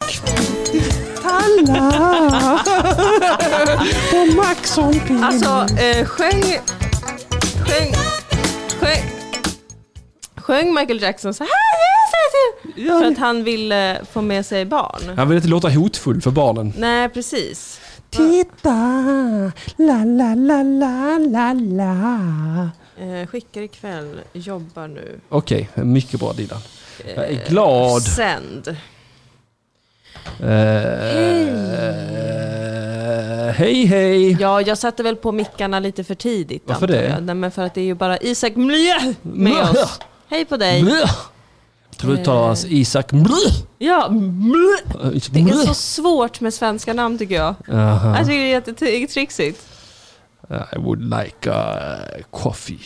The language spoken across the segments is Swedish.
alla på Max on Pin. Alltså, eh, sjöng... Sjöng... Sjöng... Sjöng Michael Jackson så här? För att han ville få med sig barn. Han vill inte låta hotfull för barnen. Nej, precis. Titta, la la la la la la. Eh, skickar ikväll, jobbar nu. Okej, mycket bra Dilan. Jag är glad. Sänd. Eh, hej hej! Ja, jag satte väl på mickarna lite för tidigt. Varför antar det? jag. Nej, men för att det är ju bara Isak Mlö med Mlö. oss. Hej på dig. Blö! Tror du uttalar hans Isak Blö! Ja, Mlö. Eh, Isak Det är Blö. så Alltså, svårt med svenska namn tycker jag. Aha. Jag tycker det är jättetrixigt. I would like a coffee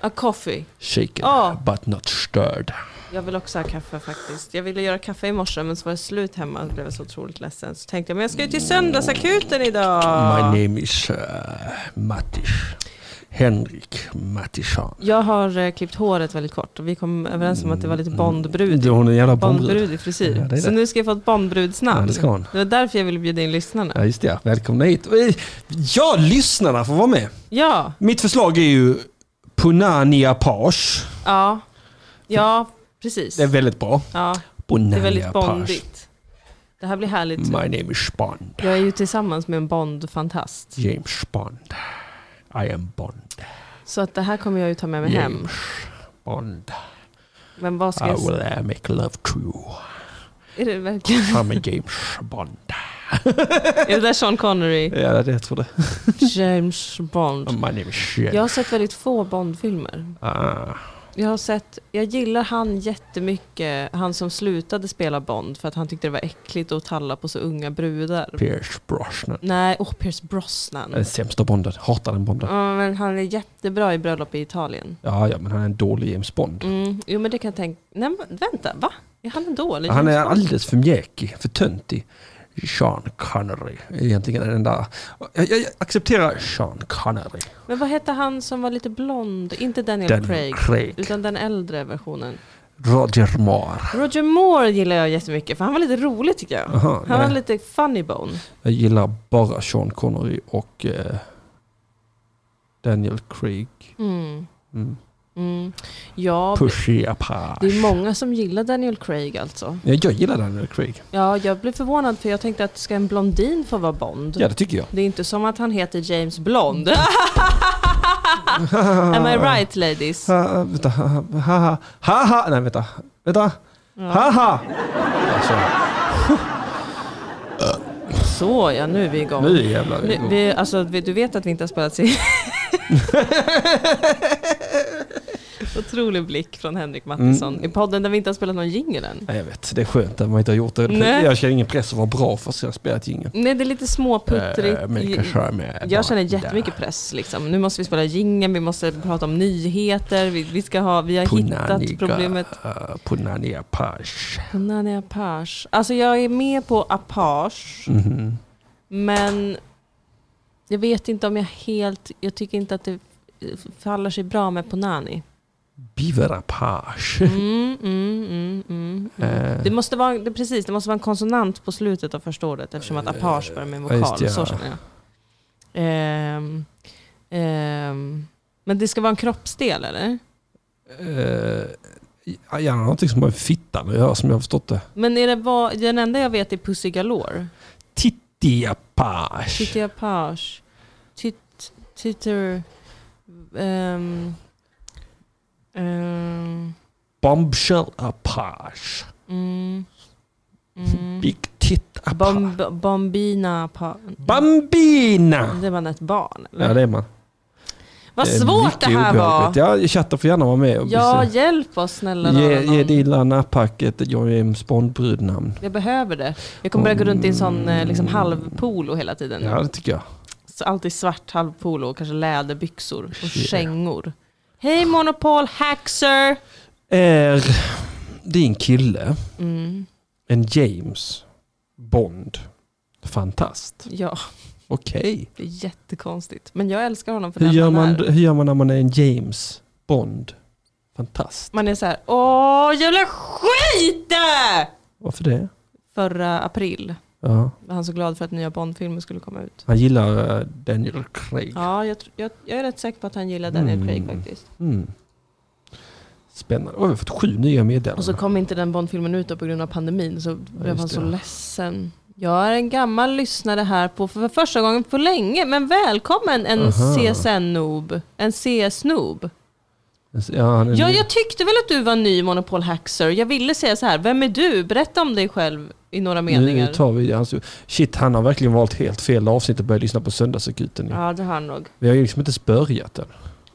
A coffee. shaken Ja. but not stirred. Jag vill också ha kaffe faktiskt. Jag ville göra kaffe i morse men så var det slut hemma och blev jag så otroligt ledsen. Så tänkte jag, men jag ska ju till söndagsakuten idag. My name is uh, Mattis. Henrik Mattisson. Jag har eh, klippt håret väldigt kort och vi kom överens om att det var lite Bondbrud. Hon Mm. är en jävla bondbrud. Bondbrud i frisyr. Ja, det är Så det. nu ska jag få ett Bondbrudsnamn. Ja, det ska hon. det var därför jag ville bjuda in lyssnarna. Ja, just det. ja. Välkomna hit. Och, eh, Ja, lyssnarna får vara med. Ja, Mitt förslag är ju Punania Page. ja, ja, precis. Det är väldigt bra. Ja, det Punania är väldigt Page. bondigt. Det här blir härligt. My name is Bond. Jag är ju tillsammans med en Bond-fantast. James Bond. I am Bond. Så att det här kommer jag ju ta med mig hem. James Bond. Men vad ska I jag säga? will uh, make love to you. Är det verkligen? I'm a James Bond. Är det där Sean Connery? Ja, det tror det. James Bond. My name is James. Jag har sett väldigt få Bond-filmer. Ah, Jag har sett, jag gillar han jättemycket, han som slutade spela Bond för att han tyckte det var äckligt att talla på så unga brudar. Pierce Brosnan. Nej, åh Pierce Brosnan. Den sämsta Bonden. Hatar den Bonden. Ja, men han är jättebra i bröllop i Italien. Ja, ja, men han är en dålig James Bond. Mm, jo men det kan jag tänka, nej men vänta, va? Är han en dålig? Han är James Bond? alldeles för mjäkig, för töntig. Sean Connery är egentligen den där... Jag, jag, jag accepterar Sean Connery. Men vad hette han som var lite blond? Inte Daniel, Daniel Craig, Craig. utan den äldre versionen. Roger Moore. Roger Moore gillar jag jättemycket för han var lite rolig tycker jag. Aha, han var nej. lite funny bone. Jag gillar bara Sean Connery och eh, Daniel Craig. Mm. Mm. Mm. Ja, Pushy Apache. det är många som gillar Daniel Craig alltså. Ja, jag gillar Daniel Craig. Ja, jag blev förvånad för jag tänkte att ska en blondin få vara Bond? Ja, det tycker jag. Det är inte som att han heter James Blond. Am I right ladies? Ha, vänta, ha, ha, ha, ha, ha, nej vänta, vänta, ha, ha. Alltså, Så ja, nu är vi igång. nu jävlar. Nu, vi, alltså, vi, du vet att vi inte har spelat in. Otrolig blick från Henrik Mattisson i podden där vi inte har spelat någon jingel än. Nej, jag vet, det är skönt att man inte har gjort det. Nej. Jag känner ingen press att vara bra för att jag har spelat ingen. Nej, det är lite småputtrigt. Eh, men kanske jag är med bara jag känner jättemycket press. Liksom. Nu måste vi spela jingeln, vi måste prata om nyheter, vi, vi, ska ha, vi har där. hittat problemet. eh, Punani Apache. Punani Apache. Alltså jag är med på Apache, Mhm. men jag vet inte om jag helt... Jag tycker inte att det eh, faller sig bra med Punani. Beaver Apache. Mm, mm, mm, mm, mm. Eh, Det måste vara det, precis, det måste vara en konsonant på slutet av första ordet eftersom att apage börjar med en Eh, ja, vokal. just det, Så ja. känner jag. Ehm, ehm, men det ska vara en kroppsdel eller? eh, gärna någonting som har med fittan att göra som jag har förstått det. Men är det vad, den enda jag vet är Pussy Galore. Titti Apache. Titti apage. Tit, titter... ehm, ehm, Bombshell Apache. mm, mm. Big Tit Apache. Bomb, bombina... Pa, Bambina! det var ett barn eller? Ja, det är man. Vad Det är svårt mycket det här var! obehagligt. Ja, chatten får gärna vara med. och Ja, se. hjälp oss snälla ge, någon. ge Dilan Apak ett James Bond-brudnamn. Jag behöver det. Jag kommer börja gå runt i en sån eh, liksom, halvpolo hela tiden. Ja, det tycker jag. Så alltid svart halvpolo och kanske läderbyxor och Yeah. kängor. Hej Monopol Haxer! Är din kille Mm, en James Bond? Fantast. ja, Okej. det är jättekonstigt. Men jag älskar honom för Hur, den gör han man- är. hur gör man när man är en James Bond? Fantast. Man är så här, åh jävla skit! Varför det? Förra april Ja. Var han så glad för att nya Bond-filmer skulle komma ut? Han gillar eh, Daniel Craig. Ja, jag, tr- jag, jag är rätt säker på att han gillar Daniel Mm. Craig faktiskt. Mm. Spännande. Oj, vi har fått sju nya meddelanden. Och så kom inte den Bond-filmen ut då på grund av pandemin så blev han det. så ledsen. Jag är en gammal lyssnare här på för första gången på länge, men välkommen en Aha. CSN-noob. En CS-noob. Alltså, Ja, han är Ja, jag tyckte väl att du var ny Monopol Hacksir. Jag ville säga så här, vem är du? Berätta om dig själv i några meningar. Nu tar vi hans... Shit, han har verkligen valt helt fel avsnitt och börjat lyssna på Söndagsakuten. Ja. Ja, det har han nog. Vi har ju liksom inte ens börjat än.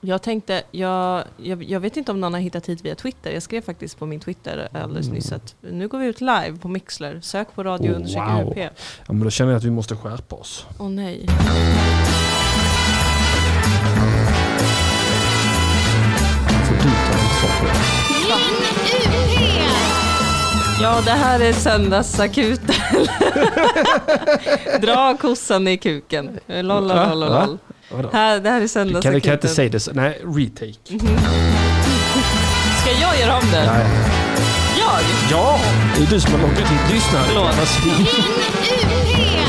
Jag tänkte, jag, jag, jag vet inte om någon har hittat hit via Twitter. Jag skrev faktiskt på min Twitter alldeles nyss att nu går vi ut live på Mixler. Sök på radio Mm. Oh, undersöker wow. UP. Ja, men då känner jag att vi måste skärpa oss. Åh nej. För du tar ansvar för det. Ja, det här är söndagsakuten. Dra kossan i kuken. Lol, lol, lol, Va? lol. Vadå? Här, det här är Vi kan, vi söndagsakuten. kan inte säga det så. Nej, retake. Ska jag göra om det? Nej. Jag? Ja! Det är du som har lockat hit lyssnare. Förlåt. Annars-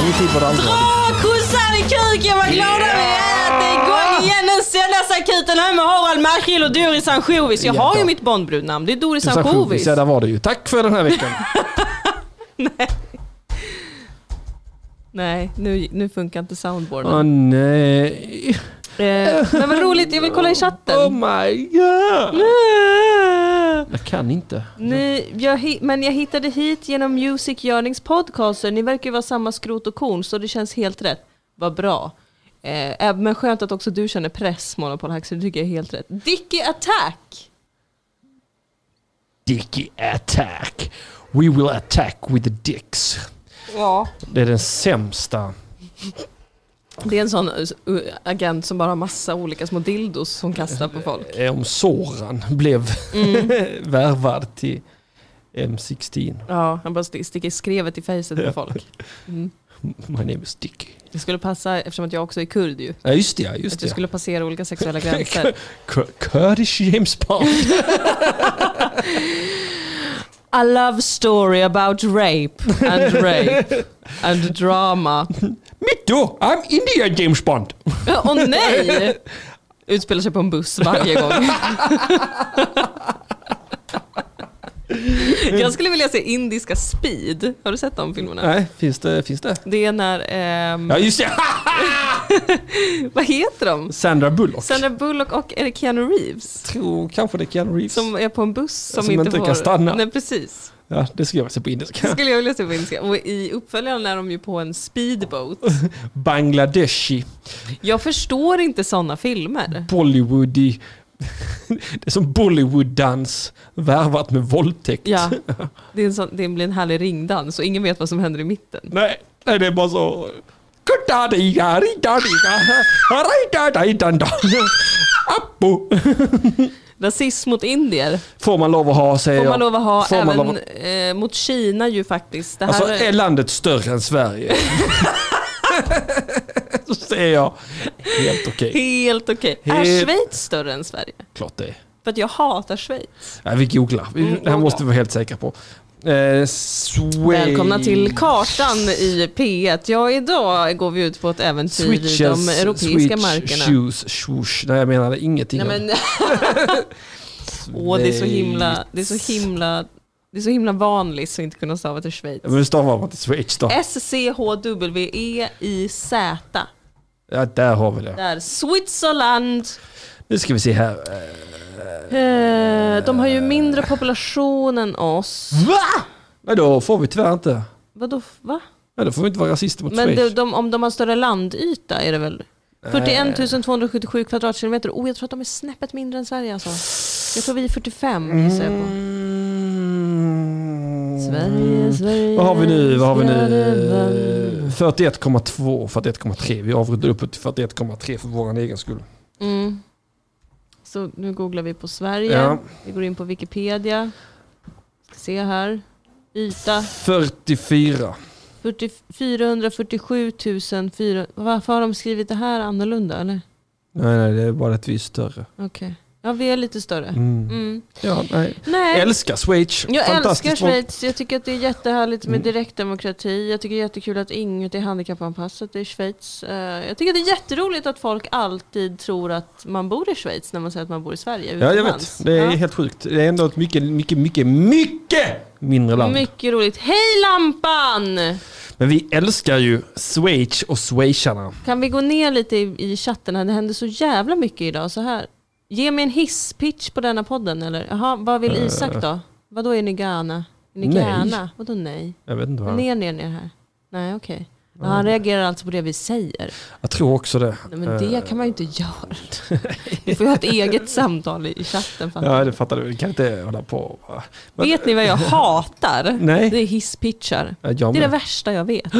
Min tid var det allvarligt. Dra kossan i kuken, vad glada vi är att det är igång igen nu. Söndagsakuten här med Harald Markiel och Doris Anchovis. Jag har ju mitt Bondbrudnamn, det är Doris Anchovis. Ja, där var det ju. Tack för den här veckan. Nej, nu, nu funkar inte soundboarden. Åh nej. Eh, men vad roligt, jag vill kolla i Oh chatten. Mm. my god. Jag kan inte. Ni, jag, hi- men jag hittade hit genom Music Yearnings podcaster. Ni verkar ju vara samma skrot och korn, så det känns helt rätt. Vad bra. Eh, eh, men skönt att också du känner press, Monopol Hack, så det tycker jag är helt rätt. Dicky Attack! Dicky attack. We will attack with the dicks. Ja. Det är den sämsta. Det är en sån uh, agent som bara har massa olika små dildos som kastar på folk. Eh, Om Soran blev Mm. värvad till M16. Ja, han bara st- sticker skrevet i facet på folk. My name is Dicky. Det skulle passa, eftersom att jag också är kurd ju, Ja just det, ja, att just du det. skulle passera olika sexuella gränser. Kur- Kurdish James Bond. A love story about rape and rape and drama. Mitt då, I'm India James Bond. Åh nej! Utspelar sig på en buss varje gång. Jag skulle vilja se indiska Speed. Har du sett de filmerna? Nej, finns det? Finns det? Det är när... ehm, Ja just det! Vad heter de? Sandra Bullock. Sandra Bullock och är det Keanu Reeves? tror kanske det är Keanu Reeves. Som är på en buss som, Som inte inte får... kan stanna. Nej, precis. Ja, det ska jag se på Det indiska. skulle jag vilja se på indiska. Och i uppföljaren är de ju på en speedboat. Bangladeshi, Jag förstår inte sådana filmer. Bollywoody. Det är som Bollywood-dans värvat med våldtäkt. Ja, det, är en sån, det blir en härlig ringdans och ingen vet vad som händer i mitten. Nej, nej, det är bara så... Kutadija, ridadija, haridadajdanda, appo. Rasism mot indier Får man lov att ha, säger får man lov att ha, Eh, Får man även lov att- eh, mot Kina ju faktiskt. Det här Alltså, är landet större än Sverige? så säger jag, helt okej. helt okej. Är Helt- Schweiz större än Sverige? Klart det är. För att jag hatar Schweiz. Nej, vi googlar. Vi, det här Mm, googla. måste vi vara helt säkra på. Eh, Sway- Välkomna till Kartan i P1. Ja, idag går vi ut på ett äventyr i de Switches, europeiska switch, markerna. shoes, swoosh. Nej, jag menade ingenting. Nej, men, åh, det är så himla, det är så himla, det är så himla vanligt så inte kunna stava till Schweiz. Ja, Men hur stavar man inte Schweiz då? S-C-H-W-E-I-Z. Ja, där har vi det. E Där, Switzerland. Nu ska vi se här. Eh, Eh, de har ju mindre population än oss. Va? Nej, då får vi tyvärr inte. Vadå, va? Nej, då får vi inte vara rasister mot Men Schweiz. Eh. de, de, om de har större landyta är det väl? 41 277 kvadratkilometer. Oh, jag tror att de är snäppet mindre än Sverige alltså. Jag tror vi är 45 gissar jag på. Mm. Sverige, Sverige. Vad har vi nu? Vad har vi nu? Sverige. 41,2, 41,3. Vi avrundar upp till 41,3 för vår egen skull. Mm. Så nu googlar vi på Sverige. Ja. Vi går in på Wikipedia. Ska se här. Yta 44. 40, 447 000. Varför har de skrivit det här annorlunda eller? Nej, nej, det är bara att vi är större. Okej. Ja, vi är lite större. Mm. Mm. Ja, nej. Nej. Älskar Schweiz. Jag Fantastiskt älskar folk. Schweiz. Jag tycker att det är jättehärligt med Mm. direktdemokrati. Jag tycker det är jättekul att inget är handikappanpassat i Schweiz. Eh, Jag tycker det är jätteroligt att folk alltid tror att man bor i Schweiz när man säger att man bor i Sverige. Ja, jag utomlands. vet. Det är Ja. helt sjukt. Det är ändå ett mycket, mycket, mycket, mycket mindre land. Mycket roligt. Hej Lampan! Men vi älskar ju Schweiz och schweizarna. Kan vi gå ner lite i, i chatten här? Det händer så jävla mycket idag. Så här. Ge mig en hisspitch på denna podden eller? Jaha, vad vill Isak då? Vadå är ni Ghana? Är ni Eh. Nej. Ghana? Vadå nej? Jag vet inte vad han... Ner, ner, ner här. Nej, okej. Ja, Han reagerar alltså på det vi säger. Jag tror också det. Nej, men Eh. det kan man ju inte göra. Vi får ju ha ett eget samtal i i chatten. fattar Ja, du? det fattar du. Vi kan inte hålla på. va? Men- Vet ni vad jag hatar? Nej. Det är hisspitchar. Ja, jag Det är det med. värsta jag vet.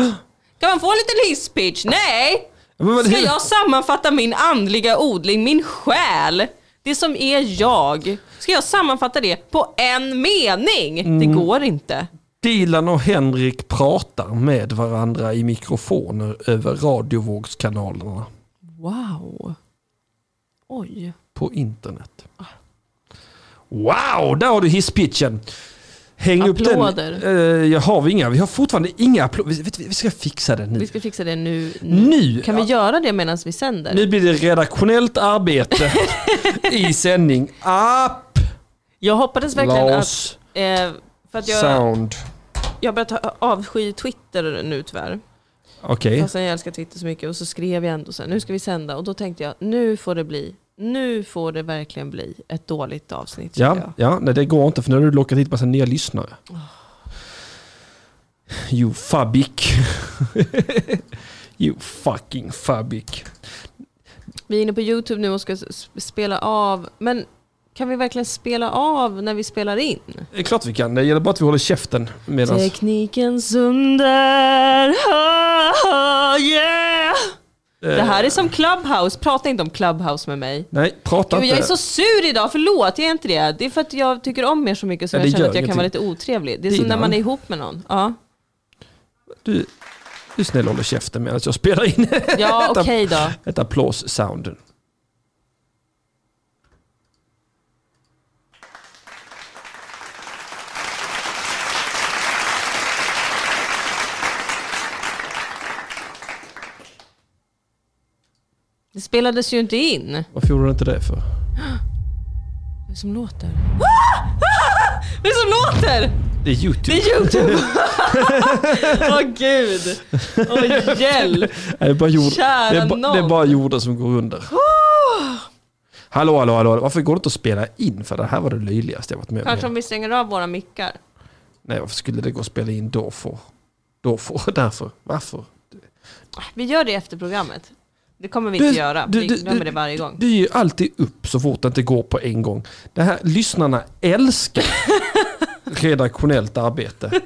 Kan man få en liten hisspitch? Nej! Men vad- Ska jag sammanfatta min andliga odling, min själ? Det som är jag. Ska jag sammanfatta det på en mening? Det Mm. går inte. Dilan och Henrik pratar med varandra i mikrofoner över radiovågskanalerna Wow. Oj. på internet. Wow, där har du hisspitchen. Häng upp den. Applåder. Eh, jag har vi inga. Vi har fortfarande inga applåder. Vi, vet du, vi ska fixa det nu. Vi ska fixa det nu. Nu! Kan vi göra det medan vi sänder? Nu blir det redaktionellt arbete i sändning. Applås. Jag hoppades verkligen att... Eh, för att jag, Sound. jag börjar ta avsky Twitter nu tyvärr. Okej. Fastän jag älskar Twitter så mycket. Och så skrev jag ändå så här, nu ska vi sända. Och då tänkte jag, nu får det bli. Nu får det verkligen bli ett dåligt avsnitt. tycker Ja, jag. ja nej, det går inte för nu har du lockat hit massa nya lyssnare. You fabik. you fucking fabik. Vi är inne på YouTube nu och ska s- spela av. Men kan vi verkligen spela av när vi spelar in? Det är klart vi kan. Det gäller bara att vi håller käften medan... Teknikens under. Ah, yeah. Det här är som Clubhouse. Prata inte om Clubhouse med mig. Eh, Nej, prata Gud, inte. jag är så sur idag, förlåt jag är inte det. Det är för att jag tycker om er så mycket så Ja, det jag känner gör att jag kan vara lite ingenting. otrevlig. Det är Dina. som när man är ihop med någon. Ja, Du, du snälla håller käften medan jag spelar in ja okej då. ett applås-sound. Det spelades ju inte in. Vad Varför gjorde du inte det för? är det som låter? Ah! Ah! Vad är det som låter? Det är YouTube. Det är Youtube! Åh gud! Åh hjälp! Nej, Det är bara, jord, det Kära är ba, nån. det är bara jorden som går under. Hallå, hallå, hallå. Varför går det inte att spela in? För det här var det löjligaste jag varit med Kanske om. om vi stänger av våra mickar. Nej, varför skulle det gå att spela in då för? Då för? Därför? Varför? Vi gör det efter programmet. Det kommer vi Du- inte göra. du- Vi du- glömmer du- det varje gång. Du är ju alltid upp så fort det inte går på en gång. Det här, lyssnarna älskar redaktionellt arbete.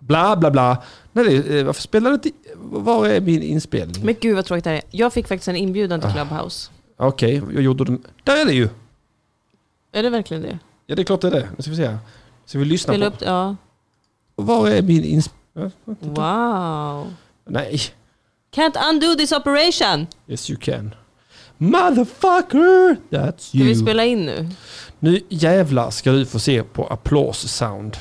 Bla, bla, bla. Nej, det, är- varför spelar det inte... Var är min inspelning? Men gud vad tråkigt det här är. Jag fick faktiskt en inbjudan Ah. till Clubhouse. Okej, jag gjorde den... Där är det ju! Är det verkligen det? Ja, det är klart det är det. Nu ska vi se här. Så vi lyssnar Spela på... upp, ja. Var är min insp... Wow. Nej. Can't undo this operation. Yes you can. Motherfucker! That's Ska you. vi spela in nu? Nu jävlar ska du få se på applås-sound.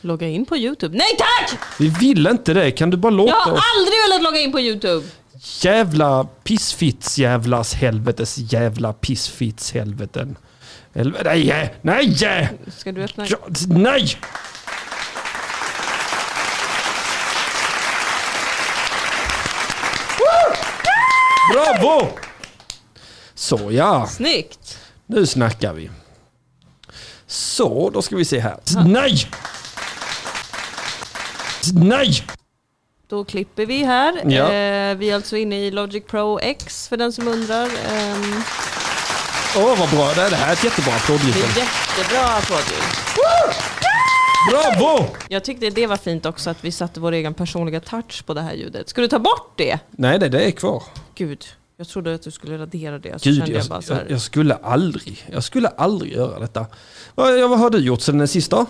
Logga in på Youtube. Nej tack! Vi vill inte det. Kan du bara Jag låta har oss... aldrig velat logga in på Youtube. Jävla pissfitts jävlas helvetes jävla pissfitts helveten. Helvete. Nej! Nej! Ska du öppna? Ja, Nej! Bravo! Så ja, Snyggt! nu snackar vi. Så, då ska vi se här. Nej! Nej! Då klipper vi här. Ja. Eh, vi är alltså inne i Logic Pro X för den som undrar. Ehm, Åh, vad bra. Det här- det här är ett jättebra det applådljud. är jättebra applåder. Bravo! Jag tyckte det var fint också att vi satte vår egen personliga touch på det här ljudet. Ska du ta bort det? Nej, nej, det är kvar. Gud, jag trodde att du skulle radera det. Så Gud, kände jag, bara jag, så här. jag, jag skulle aldrig, jag skulle aldrig göra detta. Vad, ja, vad har du gjort sen den sista?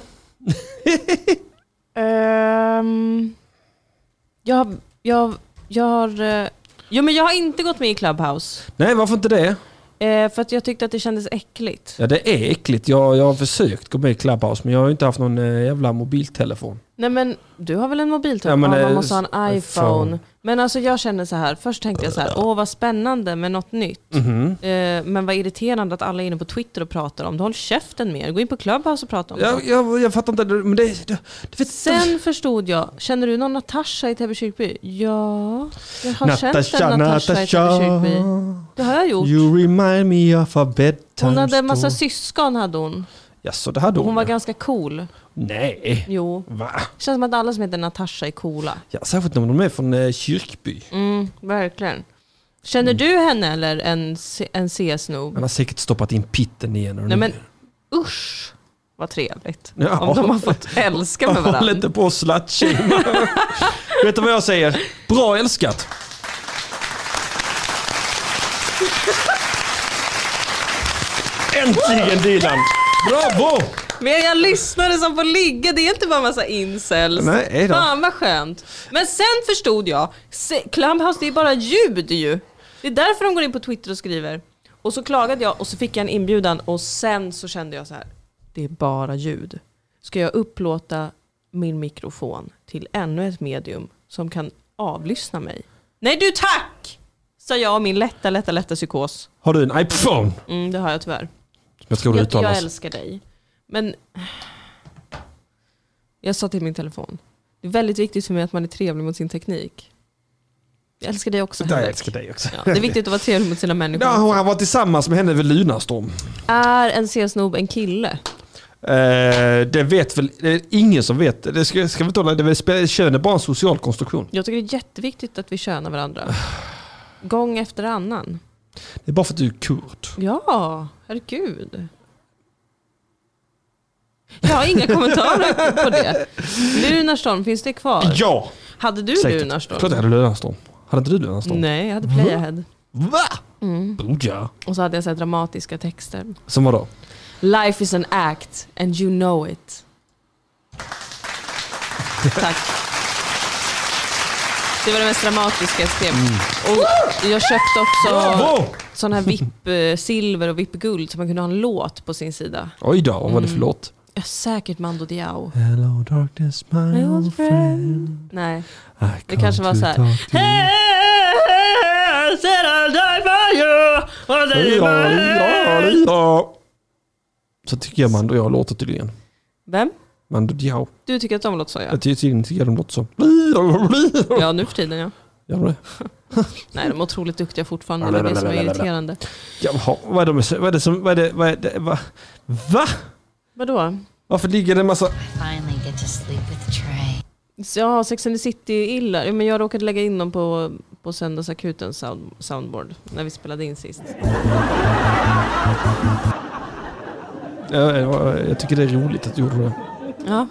Ehm, jag, jag Jag har... Eh, jo men jag har inte gått med i Clubhouse. Nej, varför inte det? Eh, för att jag tyckte att det kändes äckligt. Ja, det är äckligt. Jag, jag har försökt gå med i Clubhouse, men jag har ju inte haft någon eh, jävla mobiltelefon. Nej men du har väl en Ja, mobiltelefon? men, Ja, eh, man måste ha en iPhone. iPhone. Men alltså jag känner så här. Först tänkte jag så här, åh vad spännande med något nytt. Mhm. Eh, men vad irriterande att alla är inne på Twitter och pratar om det. Håll käften mer, gå in på Clubhouse och prata om det. Jag, jag, jag fattar inte, men det... det, det vet, Sen förstod jag, känner du någon Natasha i Täby kyrkby? Ja, jag har känt Natasha, en Natasha, i Täby Natasha, kyrkby. Det har jag gjort. you remind me of a bedtime Hon hade en massa story. syskon hade hon. Jaså, det hade hon? Hon var ganska cool. Nej. Jo. Va? Känns som att alla som heter Natasha är coola. Ja, särskilt när de är från eh, Kyrkby. Mm, verkligen. Känner du henne eller en, C- en CS-snob? Han har säkert stoppat in pitten igen. Nej men usch vad trevligt. Ja. Om de har fått älska med Håll varandra. inte på och slutshamea. Vet du vad jag säger? Bra älskat! Äntligen Dilan! Bravo! Men jag lyssnade som får ligga, det är inte bara massa incels. Nej då. Fan vad skönt. Men sen förstod jag, se- Clubhouse det är bara ljud ju. Det är därför de går in på Twitter och skriver. Och så klagade jag och så fick jag en inbjudan och sen så kände jag så här. Det är bara ljud. Ska jag upplåta min mikrofon till ännu ett medium som kan avlyssna mig? Nej du tack! Sa jag och min lätta, lätta, lätta psykos. Har du en iPhone? Som Mm, det har jag tyvärr. jag tror det Jag, jag uttalas. älskar dig. Men jag sa till min telefon. Det är väldigt viktigt för mig att man är trevlig mot sin teknik. Jag älskar dig också Jag Henrik. älskar dig också. Ja, det är viktigt att vara trevlig mot sina människor. Ja, hon har varit tillsammans med henne vid Lunarstorm. Är en C-snob en kille? Eh, det vet väl det är ingen som vet. Det ska, ska vi inte hålla, det är väl, spe- kön är bara en social konstruktion. Jag tycker det är jätteviktigt att vi könar varandra. Gång efter annan. Det är bara för att du är kurd. Ja, herregud. Jag har inga kommentarer på det. Lunarstorm, finns det kvar? Ja! Hade du Säkert. Lunarstorm? Klart jag hade Lunarstorm. Hade inte du Lunarstorm? Nej, jag hade Playahead. Va? Mm. Oh, ja. Och så hade jag så här dramatiska texter. Som vadå? Life is an act and you know it. Tack. Det var det mest dramatiska jag skrev. Mm. Och jag köpte också Bravo! sån här VIP-silver och VIP-guld så man kunde ha en låt på sin sida. Oj då, vad var det för låt? Ja, Säkert Mando Diao. Hello darkness my old friend Nej. I Det kanske come var to så här. talk to you. Hey, said I'll die for you, I'll die Ja, ja, for you. ja. Så tycker jag Mando jag låter tydligen. Vem? Mando Diao. Du tycker att de låter så ja. Jag tycker tydligen tycker jag de låter så. Ja, nu för tiden ja. Gör de det? Nej, de är otroligt duktiga fortfarande. Det är det som är irriterande. Jaha, vad är, de, vad är det som... Vad är det, vad är det, va? va? Vadå? Varför ligger det en massa... finally get to sleep with Trey. Ja, Sex and the City illa. Ja, Men jag råkade lägga in dem på, på söndagsakuten sound, soundboard när vi spelade in sist. Jag, jag, jag tycker det är roligt att du gjorde det. Ja.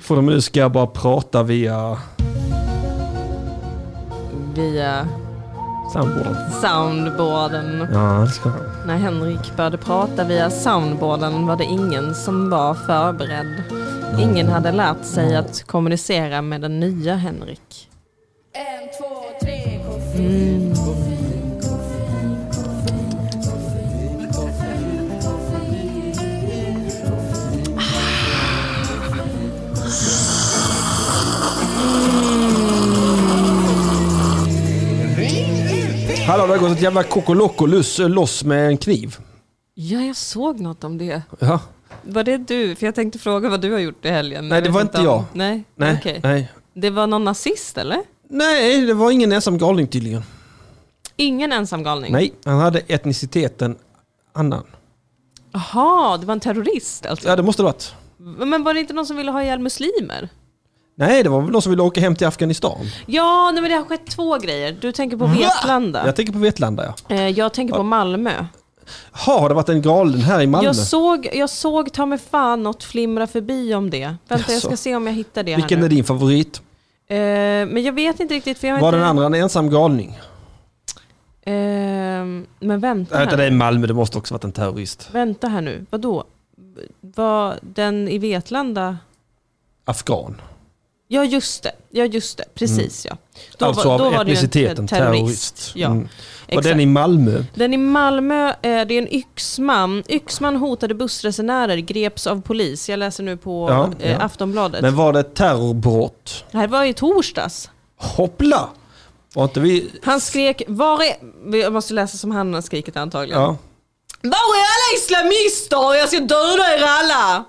Från och med nu ska jag bara prata via Via soundboarden. soundboarden. Ja, det ska jag. När Henrik började prata via soundboarden var det ingen som var förberedd. Ingen hade lärt sig att kommunicera med den nya Henrik. En, två, tre, gå Hallå, det har gått ett jävla kokoloko loss, loss med en kniv. Ja, jag såg något om det. Ja. Var det du? För jag tänkte fråga vad du har gjort i helgen. men Nej, jag det vet var inte om- jag. Nej, Nej, okej. nej. Det var någon nazist eller? Nej, det var ingen ensam galning tydligen. Ingen ensam galning? Nej, han hade etniciteten annan. Jaha, det var en terrorist alltså? Ja, det måste det varit. Men var det inte någon som ville ha ihjäl muslimer? Nej, det var väl någon som ville åka hem till Afghanistan. Ja, nej, men det har skett två grejer. Du tänker på Vetlanda. Jag tänker på Vetlanda, Mm. ja. Eh, Jag tänker på Malmö. Ha, har det varit en galen här i Malmö? Jag såg, jag såg ta mig fan något flimra förbi om det. Vänta, jag Jaså. ska se om jag hittar det Vilken är här din favorit? nu. Eh, Men jag vet inte riktigt för jag har Var inte... den andra en ensam galning? Eh, Men vänta Nej, utan det här. är Malmö, det måste också varit en terrorist. Vänta här nu, vadå? Var den i Vetlanda? Afghan. Ja just det, ja just det, precis ja. Då alltså var- då av var det ju en etniciteten terrorist. terrorist. Ja, Mm. Och exakt. den i Malmö. Den i Malmö, eh, det är en yxman. Yxman hotade bussresenärer, greps av polis. Jag läser nu på Ja, eh, ja. Aftonbladet. Men var det ett terrorbrott? Det här var i torsdags. Hoppla! Var inte vi... Han skrek, var är... Jag måste läsa som han har skrikit antagligen. Ja. Var är alla islamister? Jag ska döda er alla!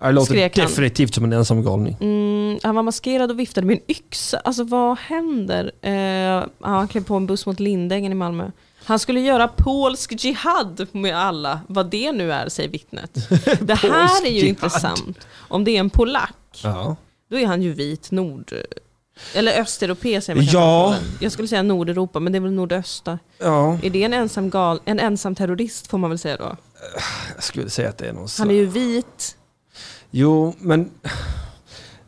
Det låter Skrek han. definitivt som en ensam galning. Mm, han var maskerad och viftade med en yxa. Alltså vad händer? Eh, ja, han klev på en buss mot Lindängen i Malmö. Han skulle göra polsk jihad med alla, vad det nu är, säger vittnet. Det här är ju jihad. intressant. Om det är en polack, Ja. då är han ju vit nord... Eller östeuropé säger man Ja. kanske. Jag skulle säga Nordeuropa, men det är väl nordöstra. ja. Är det en ensam, gal, en ensam terrorist får man väl säga då? Jag skulle säga att det är någon Han slags... är ju vit. Jo, men...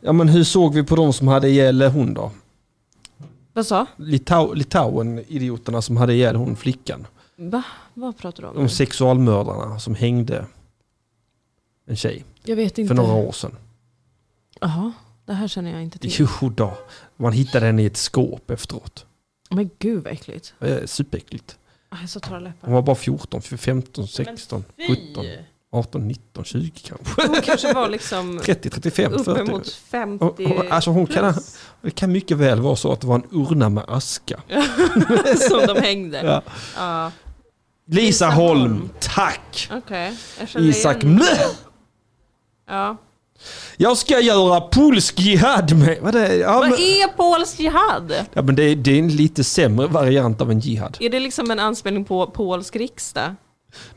Ja, men hur såg vi på de som hade ihjäl hon då? Vad sa? Litau Litauen-idioterna som hade ihjäl hon flickan. Va? Vad pratar du om? De sexualmördarna som hängde en tjej Jag vet inte. för några år sedan. Jaha, det här känner jag inte till. Jo då. Man hittade henne i ett skåp efteråt. Men gud vad äckligt. Det är superäckligt. Ah, Jag har så torra Hon läppar. var bara 14, 15, 16, 17, 18, 19, 20 kanske. Hon kanske var liksom 30, 35, 40. uppemot 50 Och- och- alltså hon kan- plus Det kan mycket väl vara så att det var en urna med aska. som de hängde. Ja. Ja. Lisa Lisa Holm, Holm. tack! Okej, jag känner Isak igen. Mö! Ja. Jag ska göra polsk jihad med... Vad är det? Ja, Vad men, är polsk jihad? ja, men det, är, det är en lite sämre variant av en jihad. Är det liksom en anspelning på polsk riksdag?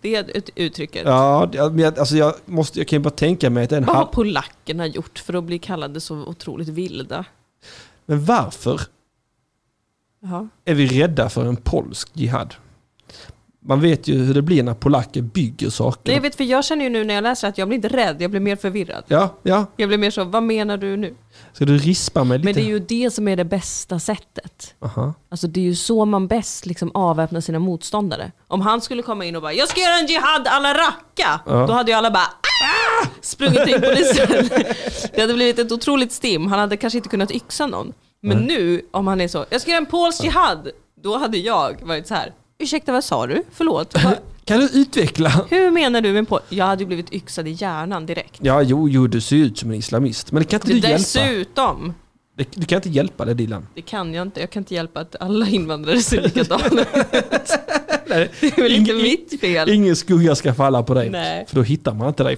Det är ut- uttrycket. Ja, det- men jag, alltså jag, måste, jag kan ju bara tänka mig att det är en Vad har halv... polackerna gjort för att bli kallade så otroligt vilda? Men varför Jaha. är vi rädda för en polsk jihad? Man vet ju hur det blir när polacker bygger saker. Nej, jag vet, för jag känner ju nu när jag läser att jag blir inte rädd, jag blir mer förvirrad. Ja, ja. Jag blir mer så, vad menar du nu? Ska du rispa mig lite? Men det är ju det som är det bästa sättet. Aha. Alltså det är ju så man bäst liksom avväpnar sina motståndare. Om han skulle komma in och bara “Jag ska göra en jihad alla racka!” Ja. Då hade ju alla bara ah! sprungit till polisen. det hade blivit ett otroligt stim. Han hade kanske inte kunnat yxa någon. Men nu, om han är så “Jag ska göra en polsk jihad!” Då hade jag varit så här “Ursäkta, vad sa du? Förlåt? Vad- Kan du utveckla? Hur menar du med en polsk?” Jag hade ju blivit yxad i hjärnan direkt. Ja, jo, jo, du ser ju ut som en islamist. Men det kan inte du hjälpa. Dessutom, Det- Du kan inte hjälpa det Dilan. det kan jag inte. Jag kan inte hjälpa att alla invandrare ser likadana ut. Nej, Det är väl inte ing- mitt fel. Ingen skugga ska falla på dig. Nej. För då hittar man inte dig.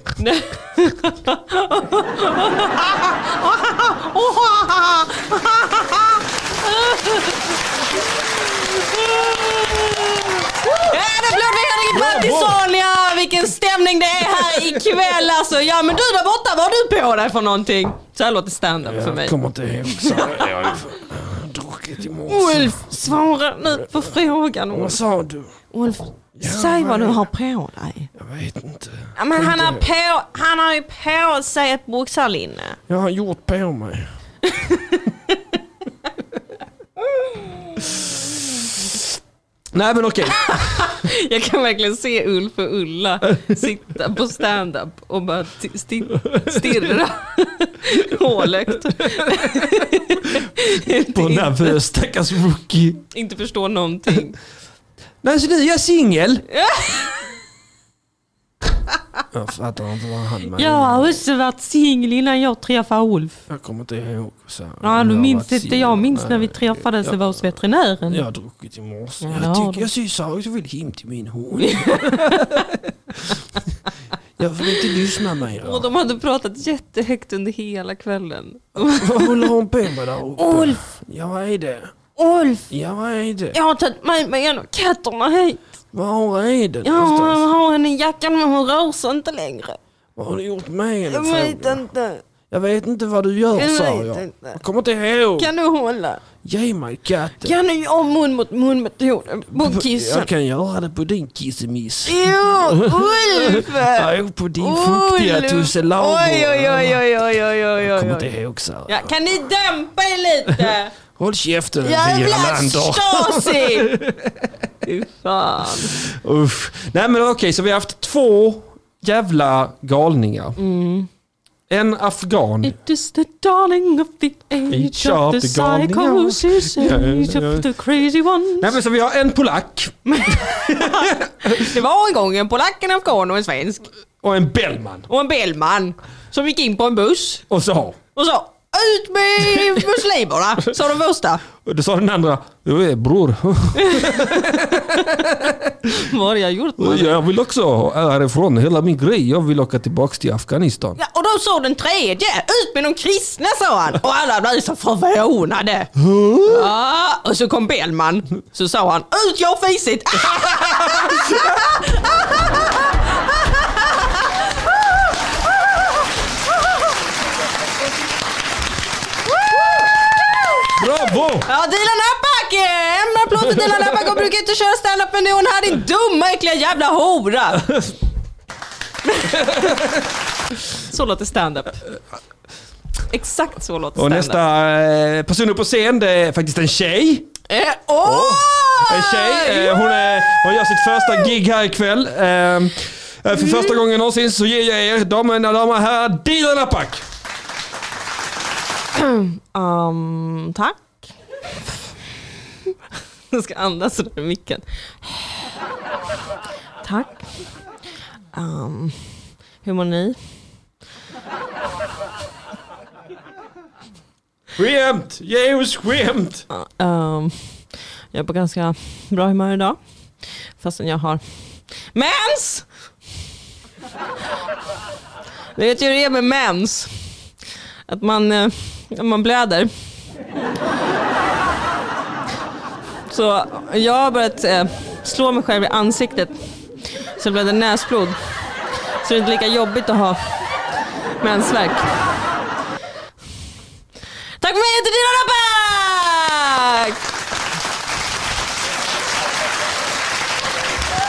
En applåd för Henrik Mattisson! Ja, vilken stämning det är här ikväll alltså. Ja men du där borta, vad har du på dig för någonting? Så här låter stand-up för mig. Jag kommer inte ihåg. så Jag har ju druckit i morse. Ulf, svara nu på frågan Vad Ulf. sa du? Ulf, säg vad du har på dig. Jag vet inte. Ja, men han har, på, han har ju på sig ett boxarlinne. Jag har gjort på mig. Nej men okej. Jag kan verkligen se Ulf och Ulla sitta på stand-up och bara t- sti- stirra hålögt. På en inte, nervös stackars rookie. inte förstå någonting. Nej så nu är jag singel. jag fattar inte vad han menar. Jag har också varit singel innan jag träffade Ulf. Jag kommer inte ihåg. Så här. Ja, Jag du har minns varit inte. Jag minns singel. när vi Nej. träffades Jag- över hos veterinären. Jag har druckit i morse. Ja, det jag har tycker du. jag ser sorgligt och vill hem till min hund. jag vill inte lyssna mer. Och de hade pratat jättehögt under hela kvällen. Vad håller hon på med där uppe? Ulf! Ja, vad är det? Ulf! Ja, vad är det? Jag har tagit med mig en av katterna hit. Var är det Jag har, någonstans? har henne i jackan men hon rör sig inte längre. Vad har du gjort med Jag henne? vet frågar jag. inte. jag vet inte vad du gör, Jag sa vet jag. inte. Jag kommer inte ihåg. Kan du hålla? Ge mig katten. Kan du göra mun mot mun metoden på kissen? Jag kan göra det på din kissemiss. Jo, Ulf! Ja, på din fuktiga Ulf! tusselago. Oj, oj, oj, oj, oj, oj, oj, Jag kommer oj, inte oj. ihåg, sa Ja, kan ni dämpa er lite? Håll käften, Jävla Lander. Stasi! Fy fan. Mm. Uff. Nej men okej, så vi har haft två jävla galningar. En afghan. It is the darling of the age, Age of, of the the gone, psychosis, ja. age of the crazy ones. Nej men så vi har en polack Det var en gång en polack, en afghan och en svensk och en bellman. och en belman som gick in på en buss Och så. och sa ut med muslimerna, sa de första. Och då sa den andra, du är bror, Vad har jag gjort? mannen? jag vill också härifrån, hela min grej, jag vill åka tillbaks till Afghanistan. Ja, och då sa den tredje, ut med de kristna sa han. Och alla blev så förvånade. Ja, och så kom Bellman, så sa han, ut jag har fisit. Bravo! Ja, Dilan Apak! eh, En applåd till Dilan Apak. Hon brukar inte köra standup men nu är hon här din dumma äckliga jävla hora. så låter standup. Exakt så låter Och standup. nästa eh, person upp på scen, det är faktiskt en tjej. Eh, åh! En Ah, tjej, eh, hon, är, hon gör sitt första gig här ikväll. Eh, För första gången någonsin så ger jag er, damerna och damer här, Dilan Apak! Ehm, tack. Jag ska andas under micken. Tack. Ehm, hur mår ni? Skämt! Ge oss skämt! Ehm, jag är på ganska bra humör idag. Fastän jag har mens! Ni vet ju hur det är med mens. Att man, eh, när man blöder. Så jag har börjat eh, slå mig själv i ansiktet. Så det blöder näsblod. Så det är inte lika jobbigt att ha mensvärk. Tack för mig, jag heter Dina Raback!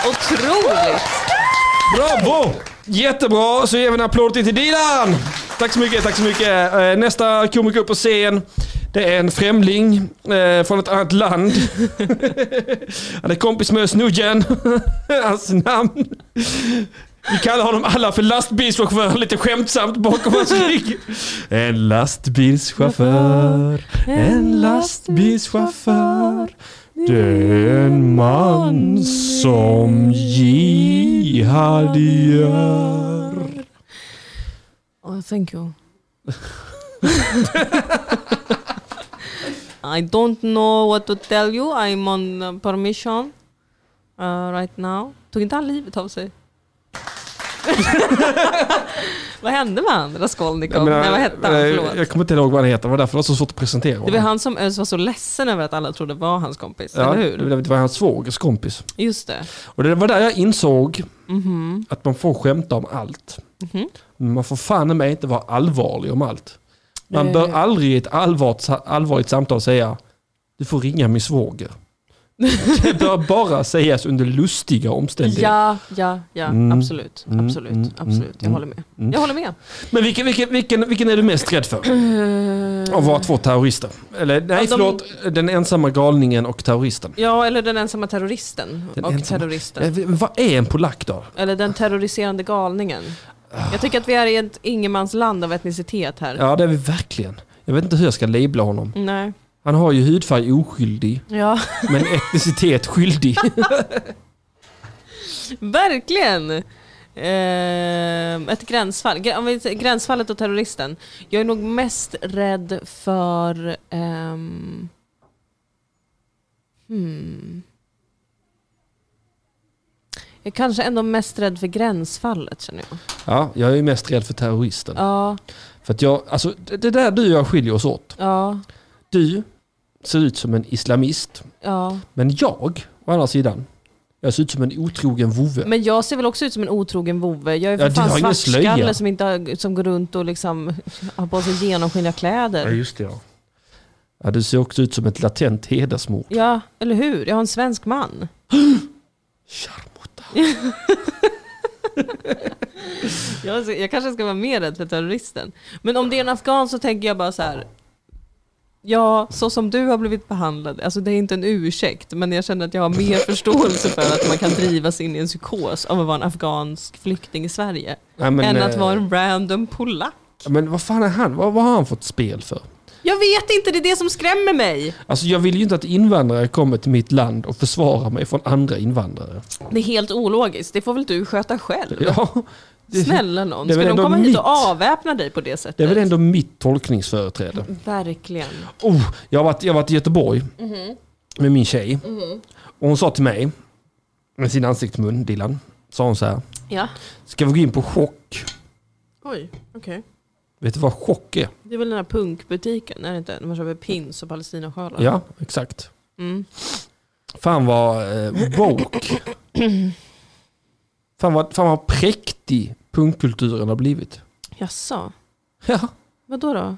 Otroligt! Bravo! Jättebra, så ger vi en applåd till till Dilan! Tack så mycket, tack så mycket. Eh, Nästa komiker upp på scen, det är en främling eh, från ett annat land. Han är kompis med Snudgen. Hans namn. Vi kallar honom alla för lastbilschaufför, lite skämtsamt bakom hans rygg. En lastbilschaufför, en lastbilschaufför. Det är en man som jihad gör. Oh, thank you. I don't know what to tell you. I'm on uh, permission uh, right now. Tog inte han livet av sig? vad hände med han Raskolnikov? Nej, vad hette han? eh, Förlåt. jag kommer inte ihåg vad han heter, det var därför det var så svårt att presentera Det var honom. han som Özz var så ledsen över att alla trodde var hans kompis, Ja, eller hur? det var hans svågers kompis. Just det. Och det var där jag insåg Mhm. att man får skämta om allt. Men man får fan i mig inte vara allvarlig om allt. Man Eh. bör aldrig i ett allvarligt, allvarligt samtal säga du får ringa min svåger. det bör bara sägas under lustiga omständigheter. Ja, ja, ja. Mm. Absolut. Mm, Absolut. mm, absolut. Jag mm, håller med. mm. Jag håller med. Men vilken, vilken, vilken, vilken är du mest rädd för? Av våra två terrorister? Eller nej, Eh. Ja, de- förlåt. Den ensamma galningen och terroristen. Ja, eller den ensamma terroristen. Den och ensamma- terroristen. Eh, Vad är en polack då? Eller den terroriserande galningen. Jag tycker att vi är i ett ingenmansland av etnicitet här. Ja, det är vi verkligen. Jag vet inte hur jag ska labla honom. Nej. Han har ju hudfärg oskyldig, Ja, men etnicitet skyldig. verkligen. Ehm, ett gränsfall. Gr- om vi säger Gränsfallet och terroristen. Jag är nog mest rädd för... ehm, hmm. Jag är kanske ändå mest rädd för gränsfallet känner jag. Ja, jag är ju mest rädd för terroristen. Ja, För att jag, alltså, det det där du och jag skiljer oss åt. ja, Du ser ut som en islamist, ja. men jag, å andra sidan, jag ser ut som en otrogen vovve. Men jag ser väl också ut som en otrogen vovve. Jag är för Ja, du har fan ingen svartskalle slöja. som, inte har, som går runt och liksom har på sig genomskinliga kläder. just det ja. ja. Du ser också ut som ett latent hedersmord. Ja, eller hur? Jag har en svensk man. Charmota. Jag, jag kanske ska vara mer rädd för terroristen. Men om det är en afghan så tänker jag bara så här. Ja, så som du har blivit behandlad. Alltså det är inte en ursäkt, men jag känner att jag har mer förståelse för att man kan drivas in i en psykos av att vara en afghansk flykting i Sverige. Nej, men, än att eh, vara en random polack. Ja, Men vad fan är han? Vad, vad har han fått spel för? Jag vet inte, det är det som skrämmer mig. Alltså jag vill ju inte att invandrare kommer till mitt land och försvarar mig från andra invandrare. Det är helt ologiskt, det får väl du sköta själv. Ja, det, Snälla någon, det är ska väl de ändå komma hit mitt. och avväpna dig på det sättet? det är väl ändå mitt tolkningsföreträde. Verkligen. Oh, jag, har varit, jag har varit i Göteborg med min tjej. Och hon sa till mig, med sin ansiktsmun, Dilan, sa hon så här. Ja. Ska vi gå in på chock? Oj, okej. Vet du vad chock är? Det är väl den här punkbutiken, är det inte? När man köper pins och palestinasjalar. Ja, exakt. Mm. Fan vad eh, woke. fan, vad, fan vad präktig punkkulturen har blivit. Jaså? Ja. Vadå då?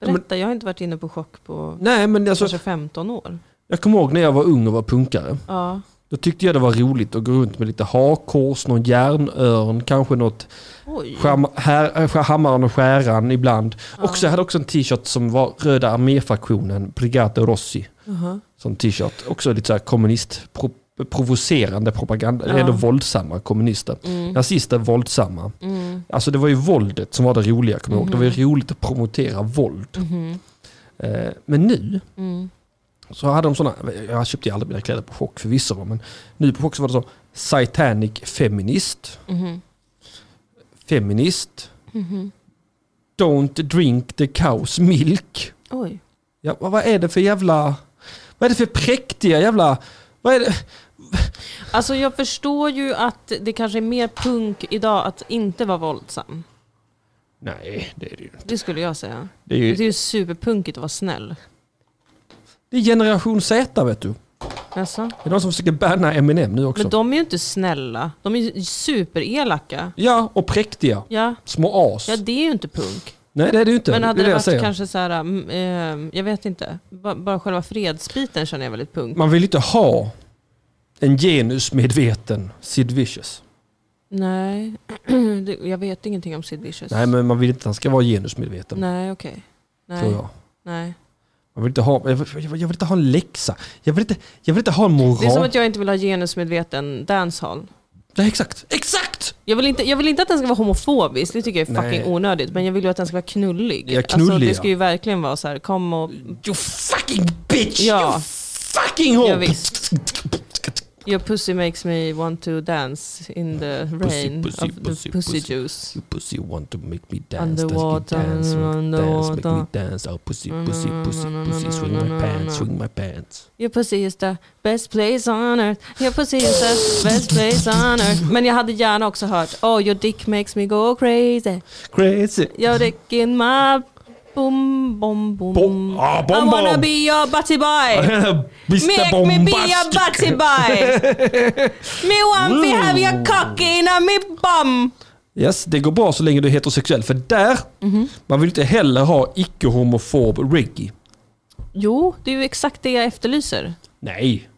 men- Berätta, jag har inte varit inne på chock på Nej men alltså, kanske 15 år. jag kommer ihåg när jag var ung och var punkare. Ja. Då tyckte jag det var roligt att gå runt med lite hakkors, någon järnörn, kanske något Oj. Skam, här, äh, hammaren och skäran ibland. Och så jag hade också en t-shirt som var Röda arméfraktionen, Brigate Rossi. Jaha. Som t-shirt. Också lite så här kommunist, pro, provocerande propaganda. Ja. Eller ändå våldsamma kommunister. Nazister våldsamma. Mm. Alltså det var ju våldet som var det roliga, kommer jag ihåg. Det var ju roligt att promotera våld. Eh, men nu mhm, Mm. så hade de sådana, jag köpte ju aldrig mina kläder på chock förvisso, va, men nu på chock så var det så, Satanic Feminist, Mhm. Feminist, Don't drink the cows milk. Oj. Ja, vad vad är det för jävla... Vad är det för präktiga jävla... Vad är det? Alltså jag förstår ju att det kanske är mer punk idag att inte vara våldsam. Nej, det är det ju. Det skulle jag säga. Det är, Det är ju, ju superpunkigt att vara snäll. det är generation Z vet du. Jaså? Det är de som försöker banna Eminem nu också. Men Alltså, de är ju inte snälla. De är ju superelaka. Ja, och präktiga. Ja. Små as. ja, det är ju inte punk. Nej, det är det ju inte. Men hade är det jag varit säger. kanske så här, mm, eh, jag vet inte, Ba- bara själva fredsbiten känner jag väldigt punk. Man vill inte ha en genusmedveten Sid Vicious. Nej, det, jag vet ingenting om Sid Vicious. Nej, men man vill inte att han ska vara genusmedveten. Nej, okej. Tror Nej, jag. nej. Man vill inte ha, jag, vill, jag vill inte ha en läxa. Jag vill inte, jag vill inte ha en moral. Det är som att jag inte vill ha genusmedveten dancehall. Nej, exakt. Exakt! Jag vill, inte, jag vill inte att den ska vara homofobisk, det tycker jag är fucking Nej. onödigt. Men jag vill ju att den ska vara knullig. Ja, knullig, alltså, det ja. ska ju verkligen vara så här, kom och... You fucking bitch! Ja. You fucking Ja, hoe! visst. Your pussy makes me want to dance in the rain pussy, of the pussy, pussy, pussy. juice. You pussy want to make me dance, Underwater, dance, make me dance, dance, make me underwater. dance. Oh pussy, pussy, pussy, pussy, swing my pants, swing my pants. Your pussy is the best place on earth. Your pussy is the best place on earth. Men jag hade gärna också hört Oh your dick makes me go crazy. Crazy! Your dick in my boom boom boom. Bom- ah, bom, I wanna bom. be your butty boy. Mr Make me be a Bombastic! butty boy. me want to have your cock in my bum. Yes, det går bra så länge du är heterosexuell. För där, man vill inte heller ha icke-homofob reggae. Jo, det är ju exakt det jag efterlyser. Nej,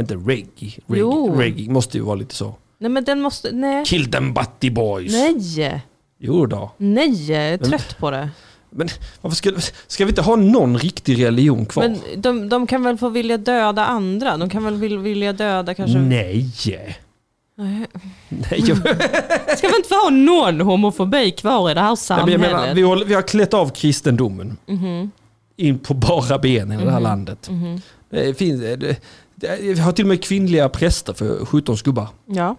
inte reggae. Reggae, Jo. reggae måste ju vara lite så. Nej men den måste, nej. Kill them butty boys. Nej, Jo då. nej, jag är trött på det. Men varför ska, ska vi inte ha någon riktig religion kvar? Men de, de kan väl få vilja döda andra? De kan väl vil, vilja döda kanske... Nej. Nej, jag, nej, Ska vi inte få ha någon homofobi kvar i det här men jag samhället? Mhm, menar, vi, håller, vi har klätt av kristendomen in på bara benen i det Mm. här landet. Det finns, det, det, vi har till och med kvinnliga präster för 17 skubbar. Ja.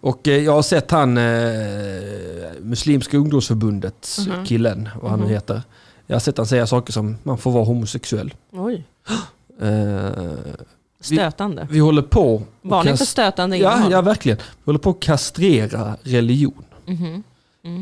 Och eh, jag har sett han, eh, Muslimska ungdomsförbundets Mhm. killen, vad han nu heter. Jag har sett han säga saker som man får vara homosexuell. Oj. Eh, Stötande. vi håller på... och Varning för kast- stötande Ja, innehåll. ja, verkligen. Vi håller på att kastrera religion. Mhm.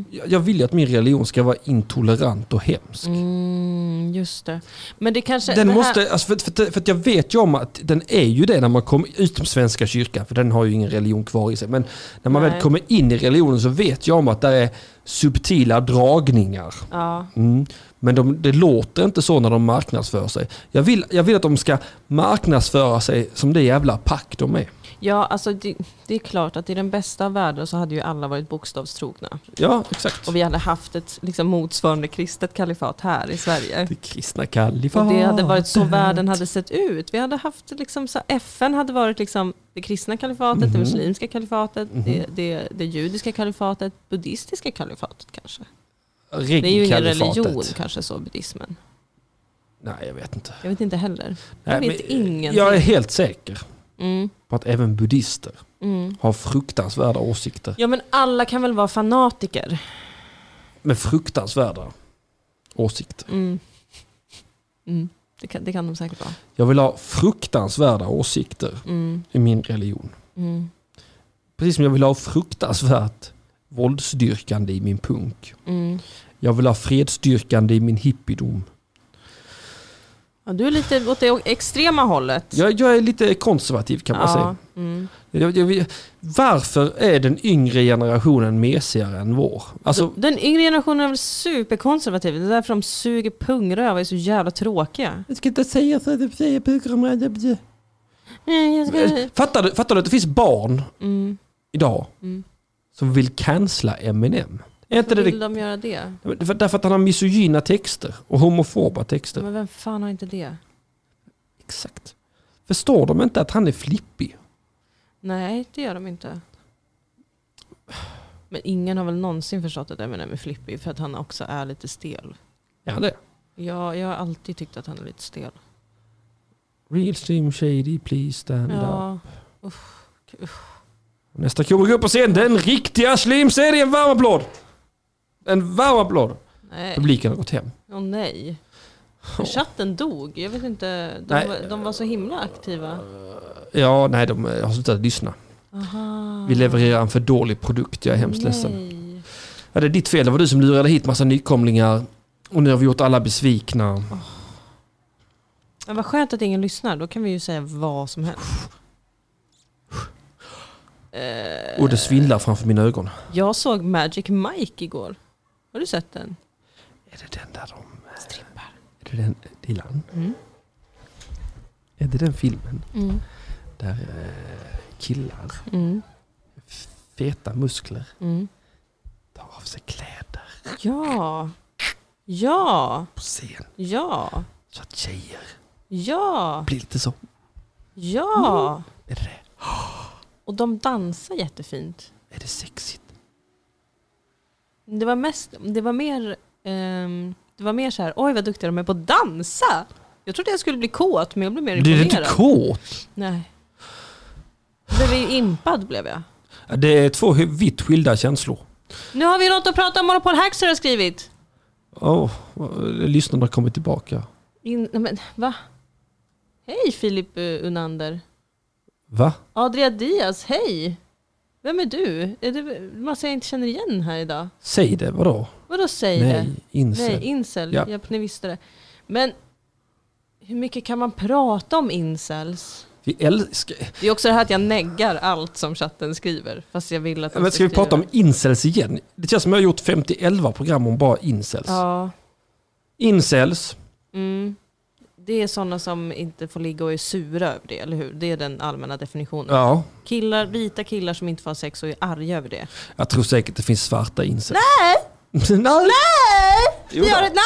Jag, jag vill ju att min religion ska vara intolerant och hemsk. Mm, just det. Men det kanske... Den det här- måste, alltså för, för, för att jag vet ju om att den är ju det när man kommer utom Svenska kyrkan, för den har ju ingen religion kvar i sig. Men när man väl Nej. kommer in i religionen så vet jag om att där är subtila dragningar. Ja. Mm. Men de, det låter inte så när de marknadsför sig. Jag vill, jag vill att de ska marknadsföra sig som det jävla pack de är. Ja, alltså det, det är klart att i den bästa av världar så hade ju alla varit bokstavstrogna. Ja, exakt. Och vi hade haft ett liksom, motsvarande kristet kalifat här i Sverige. Det kristna kalifatet. Och det hade varit så världen hade sett ut. Vi hade haft liksom, så FN hade varit liksom, det kristna kalifatet, Mhm. det muslimska kalifatet, det, det, det judiska kalifatet, buddhistiska kalifatet kanske. Det är ju ingen religion kanske så, buddhismen. Nej, jag vet inte. Jag vet inte heller. Jag Nej, vet men ingenting. Jag är helt säker Mm, på att även buddister mm. har fruktansvärda åsikter. Ja men alla kan väl vara fanatiker? Med fruktansvärda åsikter. Mm. Mm. Det, kan, det kan de säkert vara. Jag vill ha fruktansvärda åsikter Mm. i min religion. Mm. Precis som jag vill ha fruktansvärt våldsdyrkande i min punk. Mm. Jag vill ha fredsdyrkande i min hippiedom. Ja, du är lite åt det extrema hållet. Jag, jag är lite konservativ kan man säga. Mm. Jag, jag, jag- varför är den yngre generationen mesigare än vår? Alltså, Den yngre generationen är väl superkonservativ. Det är därför de suger pungröv och är så jävla tråkiga. jag ska inte säga så, det säger pukrummet. Nej, Mm, jag ska... Fattar du, fattar du att det finns barn mm. idag Mm. som vill cancella Eminem? Är inte det, Vill det de göra det? för- därför att han har misogyna texter och homofoba texter? Men vem fan har inte det? Exakt. Förstår de inte att han är flippig? Nej, det gör de inte. Men ingen har väl någonsin förstått att Eminem är flippig för att han också är lite stel. Ja, det. Ja, jag har alltid tyckt att han är lite stel. Real Slim Shady, please stand up. Ja, Nästa komiker upp på scen, den riktiga Slim Shady. En varm applåd! En varm applåd! nej. Publiken har gått hem. Åh nej. Chatten dog. Jag vet inte. De, Nej. var- de var så himla aktiva. Ja, nej, de eh, har slutat lyssna. Aha. Vi levererar en för dålig produkt, jag är hemskt ledsen. Nej. Ja, det är ditt fel, det var du som lurade hit massa nykomlingar. Och nu har vi gjort alla besvikna. Men vad skönt att ingen lyssnar. Då kan vi ju säga vad som helst. Eh, Och det svindlar framför mina ögon. jag såg Magic Mike igår. Har du sett den? Är det den där de... Strippar. Är det den... Dilan? Mm. Är det den filmen Mm. där eh, killar, Mm. feta muskler, Mm. tar av sig kläder Ja. Ja. på scen? Ja. Så att tjejer Ja. blir lite så. Ja. Är det det? Och de dansar jättefint. Är det sexigt? Det var, mest, det var mer, ehm, det var mer så här, oj vad duktiga de är på att dansa. Jag trodde jag skulle bli kåt men jag blev mer Blir det imponerad. inte kåt? Nej. Jag Blev ju impad blev jag. Ja, Det är två hu- vitt skilda känslor. Nu har vi något att prata om Monopol Hacks har jag skrivit. Åh, lyssnarna har kommit tillbaka. In, nej men, va? Hej Filip eh, Unander. Va? Adria Diaz, hej! Vem är du? Är det massa jag inte känner igen här idag? Säg det, vadå? Vadå säg det? Nej, Nej, incel. incel. Ja. Japp, ni visste det. Men hur mycket kan man prata om incels? Vi älskar... Det är också det här att jag neggar allt som chatten skriver. Fast jag vill att de Men ska vi skriva. prata om incels igen? Det känns som jag har gjort 50-11 program om bara incels. Ja. Incels, Mm. Det är sådana som inte får ligga och är sura över det, eller hur? Det är den allmänna definitionen. ja. Killar, vita killar som inte får ha sex och är arga över det. Jag tror säkert det finns svarta incels. Nej! Nej! Nej! Jo då. Gör det-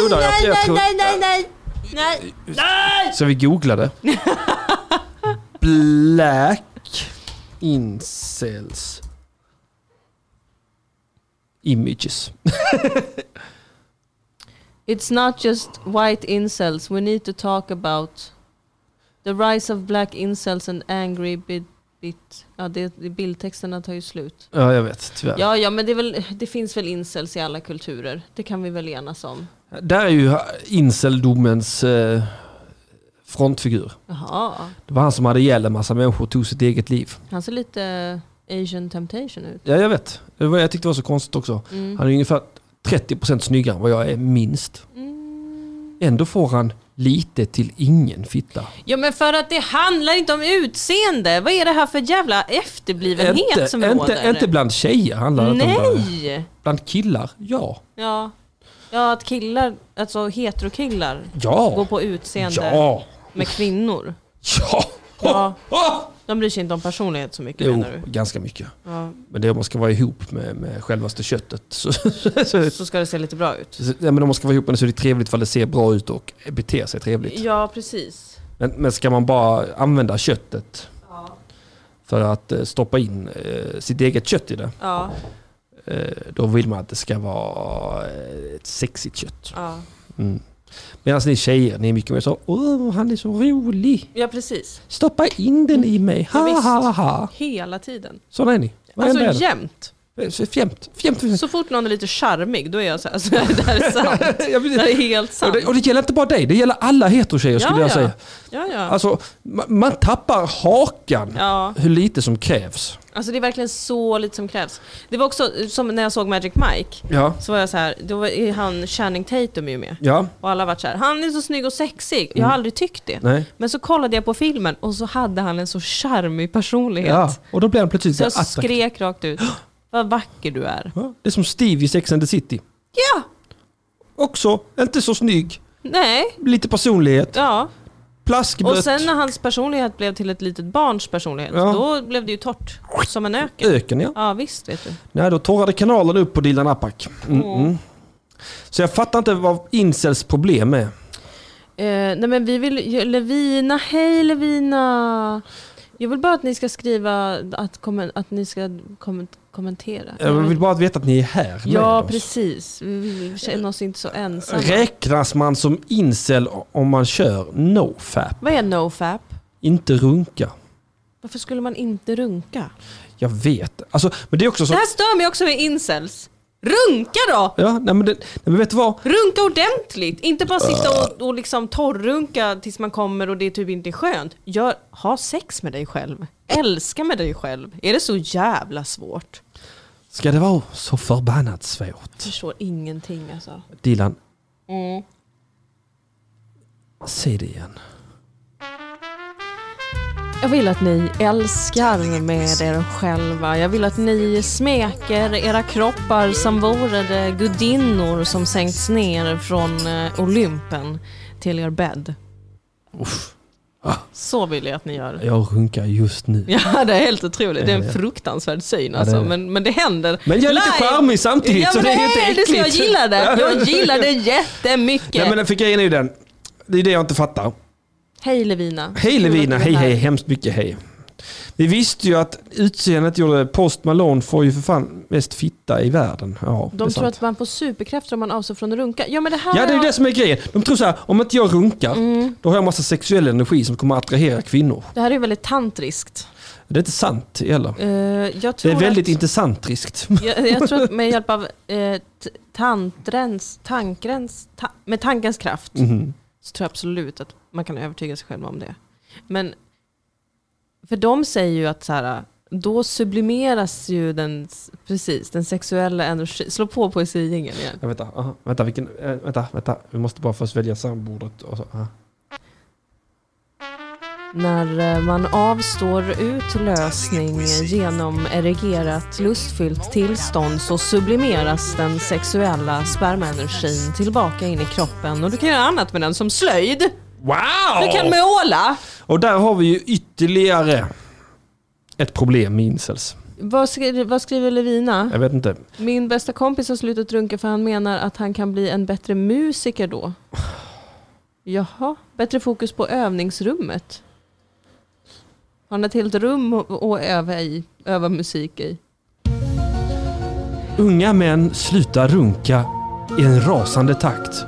Jo då, Nej! jag- jag Nej, tror- nej, nej, nej, nej! Nej! Så vi googlade. Black incels images. It's not just white incels. We need to talk about the rise of black incels and angry bit... bit. Ja, det, det- bildtexterna tar ju slut. Ja, jag vet. Tyvärr. Ja, ja, men det, är väl, det finns väl incels i alla kulturer. Det kan vi väl enas om. Där är ju inceldomens eh, frontfigur. Jaha, Det var han som hade ihjäl en massa människor och tog sitt eget liv. han ser lite Asian temptation ut. Ja, jag vet. Det var, jag tyckte det var så konstigt också. Mm. Han är ungefär 30% snyggare än vad jag är minst. Mm. Ändå får han lite till ingen fitta. Ja men för att det handlar inte om utseende. Vad är det här för jävla efterblivenhet som inte, råder? inte bland tjejer handlar det inte om. det. Nej! Bland killar, ja. Ja. ja, att killar, alltså heterokillar, går Ja. på utseende Ja. med kvinnor. Ja. Ja. Oh, oh. De bryr sig inte om personlighet så mycket Jo, menar du? ganska mycket. Ja, Men det, man ska vara ihop med, med självaste köttet. Så, så, så ska det se lite bra ut. så- ja, men om man ska vara ihop med det så är det trevligt för det ser bra ut och beter sig trevligt. Ja, precis. Men, men ska man bara använda köttet för att eh, stoppa in eh, sitt eget kött i det, Ja, eh, då vill man att det ska vara eh, ett sexigt kött. ja. Mm. Medan ni tjejer, ni är mycket mer så Åh, han är så rolig. ja precis. Stoppa in den i mig. Ha, Ja, visst. ha, ha, ha. Hela tiden. Sådana är ni. Alltså Varenda en. jämt. Så Fjämt. Fjämt. fjämt. Så fort någon är lite charmig, då är jag så här, så här det här är sant. Ja, men Det här är det- helt och, sant. det, och det gäller inte bara dig, det gäller alla heterotjejer skulle ja, jag ja. säga. Ja, ja. Alltså, Alltså, man, man tappar hakan ja. hur lite som krävs. Alltså det är verkligen så lite som krävs. Det var också eh, som när jag såg Magic Mike. Ja. Så var jag så här, då var är han Channing Tatum är ju med. Ja. Och alla har varit så här, han är så snygg och sexig. Jag har aldrig tyckt det. Mm. Nej. Men så kollade jag på filmen och så hade han en så charmig personlighet. Ja, och då blir han plötsligt Så jag attraktiv. skrek rakt ut, vad vacker du är. Ja, Det är som Steve i Sex and the City. Ja! Också, inte så snygg, Nej. lite personlighet, Ja. plaskblött. Och sen när hans personlighet blev till ett litet barns personlighet, Ja. då blev det ju torrt. Som en öken. Öken ja. Ja visst vet du. Nej, då torrade kanalen upp på Dilan Apak. Mm -mm. Så jag fattar inte vad incels problem är. Eh, nej men vi vill, ju- Levina, hej Levina! Jag vill bara att ni ska skriva, att, kommen, att ni ska kommen, kommentera. Jag vill bara veta att ni är här med Mm. ja oss. precis, vi, vi känner oss inte så ensamma. Räknas man som incel om man kör nofap? Vad är nofap? Inte runka. Varför skulle man inte runka? Jag vet. Alltså, men det är också så... Det här stör mig också med incels. Runka då! Ja, nej, men, det, nej, men vet du vad? Runka ordentligt! Inte bara sitta och, och liksom torrrunka tills man kommer och det typ inte är skönt. Gör, ha sex med dig själv. Älska med dig själv. Är det så jävla svårt? Ska det vara så förbannat svårt? förstår ingenting alltså. Dilan. Mm. Säg det igen. Jag vill att ni älskar med er själva. Jag vill att ni smeker era kroppar som vore det gudinnor som sänkts ner från eh, Olympen till er bädd. Uff, Så vill jag att ni gör. jag runkar just nu. Ja, det är helt otroligt. Det är Ja, en ja. fruktansvärd syn Ja, alltså. det är det. Men, men det händer. Men jag är lite charmig samtidigt, ja, så men det är inte det så Jag äckligt. gillar det. Jag gillar det jättemycket. Nej, men den fick grejen är ju den. Det är det jag inte fattar. Hej Levina. Hej Kul att Levina, du är hej här. hej, hemskt mycket hej. Vi visste ju att utseendet gjorde Post Malone får ju för fan mest fitta i världen. Ja, det De är tror sant. att man får superkrafter om man avstår från att runka. Ja men det här Ja, det är har- ju det som är grejen. De tror så här, om inte jag runkar, Mm. då har jag massa sexuell energi som kommer att attrahera kvinnor. Det här är ju väldigt tantriskt. Det är inte sant heller. Eh, jag Det tror är väldigt att, intressantriskt. jag, jag tror att med hjälp av eh, t- tantrens, tankrens, ta, med tankens kraft Mm. Mhm. så tror jag absolut att man kan övertyga sig själv om det. Men för de säger ju att så här, då sublimeras ju den, s- precis, den sexuella energin. Slå på poesijingen igen. Ja, vänta, aha, vänta, vilken, eh, vänta, vänta, vi måste bara först välja sambordet. Och så, aha. När eh, man avstår utlösning genom erigerat lustfyllt tillstånd så sublimeras den sexuella spermaenergin tillbaka in i kroppen och du kan göra annat med den som slöjd. Wow! Du kan måla. Och där har vi ju ytterligare ett problem med incels. Vad skriver, vad skriver Levina? Jag vet inte. Min bästa kompis har slutat runka för han menar att han kan bli en bättre musiker då. Jaha, bättre fokus på övningsrummet. Har han ett helt rum att att öva, i, öva musik i? Unga män slutar runka i en rasande takt.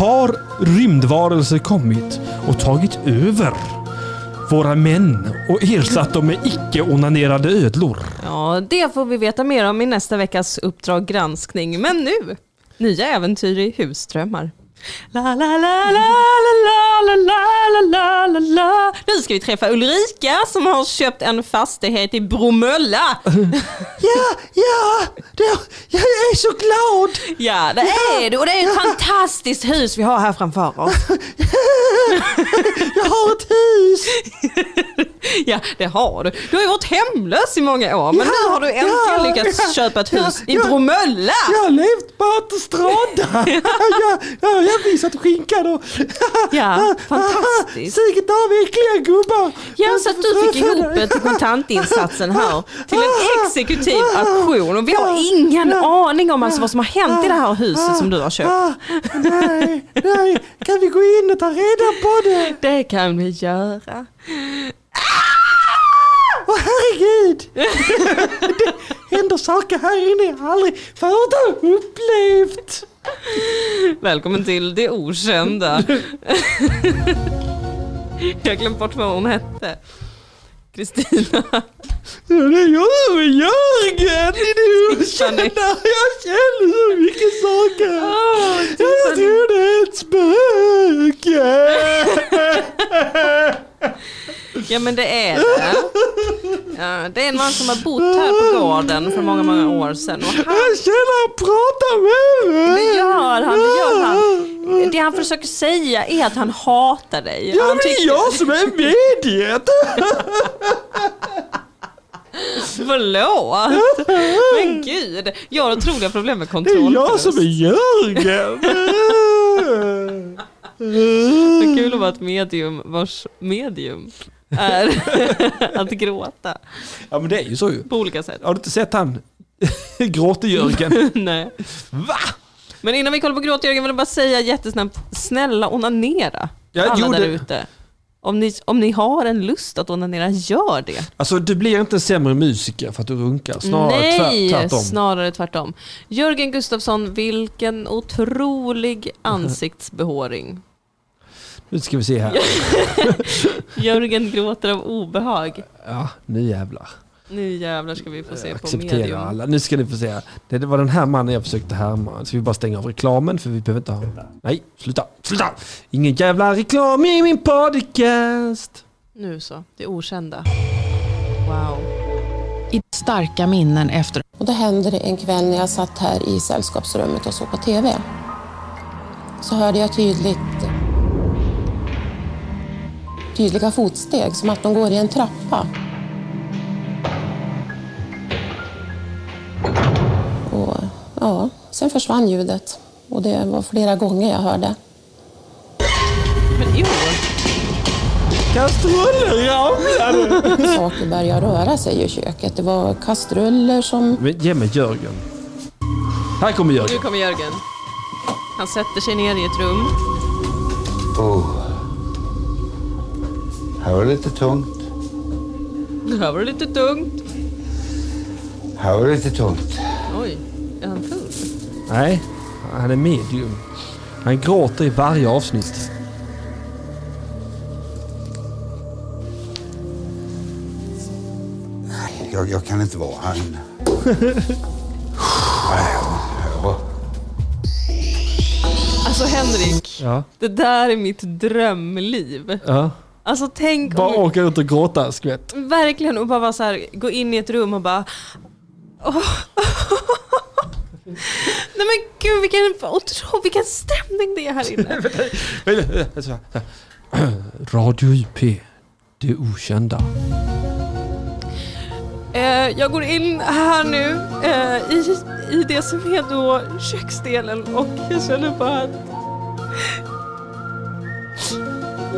Har rymdvarelser kommit och tagit över våra män och ersatt dem med icke-onanerade ödlor? Ja, det får vi veta mer om i nästa veckas Uppdrag granskning. Men nu, nya äventyr i husdrömmar. La, la, la, la, la, la, la, la, la, la, la. Nu ska vi träffa Ulrika som har köpt en fastighet i Bromölla. Ja, ja, det, jag är så glad. Ja, det är det. Och det är ett fantastiskt hus vi har här framför oss. Jag har ett hus. Ja, det har du. Du har ju varit hemlös i många år, Ja, men nu har du ja, äntligen lyckats ja, köpa ett hus ja, i ja. Bromölla! Jag har levt på autostrada! jag, jag, jag har visat skinkan och... Ja, fantastiskt. Sugit av äckliga gubbar! Alltså, Ja, så att du fick ihop ett kontantinsatsen här till Ah! en exekutiv auktion och vi har ingen aning om alltså vad som har hänt i det här huset som du har köpt. Ah, nej, nej, kan vi gå in och ta reda på det? Det kan vi göra. Åh herregud! det händer saker här inne jag aldrig förut har upplevt. Välkommen till det okända. Jag har glömt bort vad hon hette. Kristina. Ja, det gör vi Jörgen! Det är det okända. Tiffany. Jag känner så mycket saker. Åh, jag Tiffany. tror det är ett spöke. Ja men det är det. Ja, det är en man som har bott här på gården för många, många år sedan. Och han, Jag känner att prata med mig. det gör han, det gör han. Det han försöker säga är att han hatar dig. Ja, han men det är tycker- jag som är mediet. Förlåt! Men gud, jag har otroliga problem med Det är kontroll. jag som är Jörgen. Det är kul att vara ett medium vars medium är att gråta Ja men det är ju så ju. på olika sätt. Har du inte sett han? Gråte-Jörgen. Nej. Va? Men innan vi kollar på gråt Jörgen vill jag bara säga jättesnabbt, snälla onanera Jag alla gjorde- där ute. Om ni, om ni har en lust att onanera, gör det. Alltså du blir inte en sämre musiker för att du runkar. Snarare Nej, tvär, tvärtom. snarare tvärtom. Jörgen Gustafsson, vilken otrolig ansiktsbehåring. Nu ska vi se här. Jörgen gråter av obehag. Ja, nu jävlar. Nu jävlar ska vi få se på Acceptera medium. alla. Nu ska ni få se. här. Det var den här mannen jag försökte härma. Ska vi bara stänga av reklamen för vi behöver inte ha... Nej, sluta. Sluta! Ingen jävla reklam i min podcast! Nu så, det okända. Wow. i starka minnen efter Och då hände det en kväll när jag satt här i sällskapsrummet och såg på TV. Så hörde jag tydligt tydliga fotsteg, som att de går i en trappa. Och ja, sen försvann ljudet. Och det var flera gånger jag hörde. Men jo, Kastruller ramlade! Saker började röra sig i köket. Det var kastruller som Men Ge mig Jörgen. Här kommer nu Jörgen. kommer Jörgen. Han sätter sig ner i ett rum. Oh. Här var det lite tungt. Det här var lite tungt. Här var det lite tungt. Oj, är han full? Nej, han är medium. Han gråter i varje avsnitt. Jag, jag kan inte vara här inne. Ja, Alltså Henrik, Ja. det där är mitt drömliv. ja. Alltså tänk Bara om, åker ut och gråta skvätt. verkligen och bara vara så här, gå in i ett rum och bara "Åh." Nej men gud vilken, otro, vilken stämning det är här inne. Radio UP. Det okända. Eh, jag går in här nu eh, i, i det som är då köksdelen och jag känner bara att...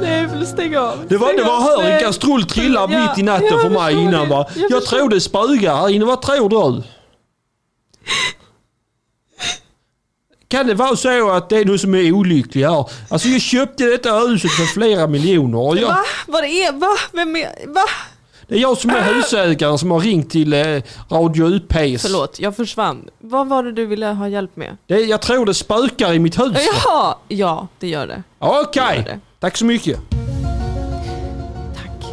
Nej, jag vill stänga av. Det var, det Stänga var av. Eh, hör en Nej. kastrull trilla Ja, mitt i natten jag för mig förstår innan det. va. Jag Jag, förstår. tror det spögar här inne. Vad tror du? Kan det vara så att det är du som är olycklig här? Alltså jag köpte detta huset för flera miljoner. Och jag, Va? Vad det är? Va? Vem är? Va? det är jag som Ah! är husägaren som har ringt till eh, Radio UPs. Förlåt, jag försvann. Vad var det du ville ha hjälp med? Det, jag tror det spökar i mitt hus. Jaha! Ja, det gör det. Okej, det. tack så mycket. Tack.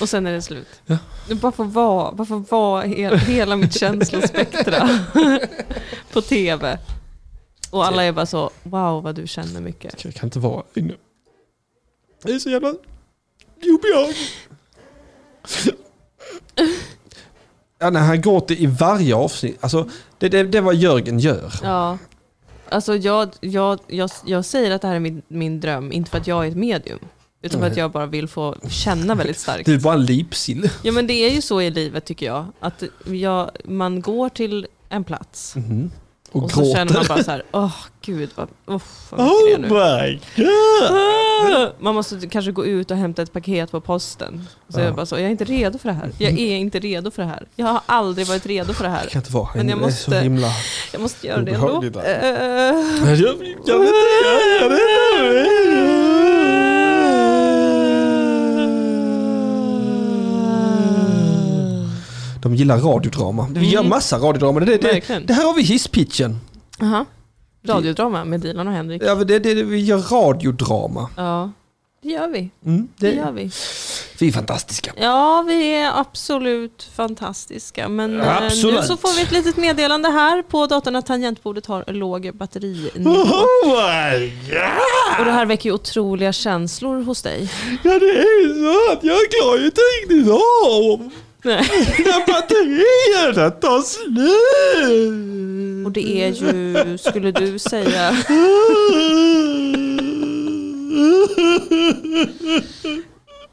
Och sen är det slut. Du bara får vara, bara får vara he- hela mitt känslospektra på tv. Och alla är bara så, wow vad du känner mycket. Jag kan inte vara inne. Det är så jävla obehagligt. Ja, när han gråter i varje avsnitt. Alltså, det, det, det är vad Jörgen gör. Ja. Alltså jag, jag, jag, jag säger att det här är min, min dröm, inte för att jag är ett medium. Utan för att jag bara vill få känna väldigt starkt. Du är bara en lipsill. Ja men det är ju så i livet tycker jag. Att jag, man går till en plats Och, och så gråter. känner man bara så här, åh gud vad, oh, vad mycket det är nu. my god! Ah! Man måste kanske gå ut och hämta ett paket på posten. Så Ja. jag bara så, jag är inte redo för det här. Jag är inte redo för det här. Jag har aldrig varit redo för det Jag här. kan inte vara här Men jag inne, det är så måste- himla... Jag måste göra det ändå. Obehagligt där. Eh, Jag, jag vet inte, jag, jag vet inte. De gillar radiodrama. Vi gör massa radiodrama. Det, det, det, Verkligen. det här har vi hisspitchen. Aha. Radiodrama med Dilan och Henrik. Ja, men det, det, vi gör radiodrama. Ja, det gör vi. Mm, Det det, gör vi. vi är fantastiska. Ja, vi är absolut fantastiska. Men eh, Absolut. nu så får vi ett litet meddelande här på datorn att tangentbordet har låg batterinivå. Oh my god! Och det här väcker ju otroliga känslor hos dig. Ja, det är ju så att jag klarar ju inte riktigt av Nej. när batterierna tar slut. Och det är ju, skulle du säga,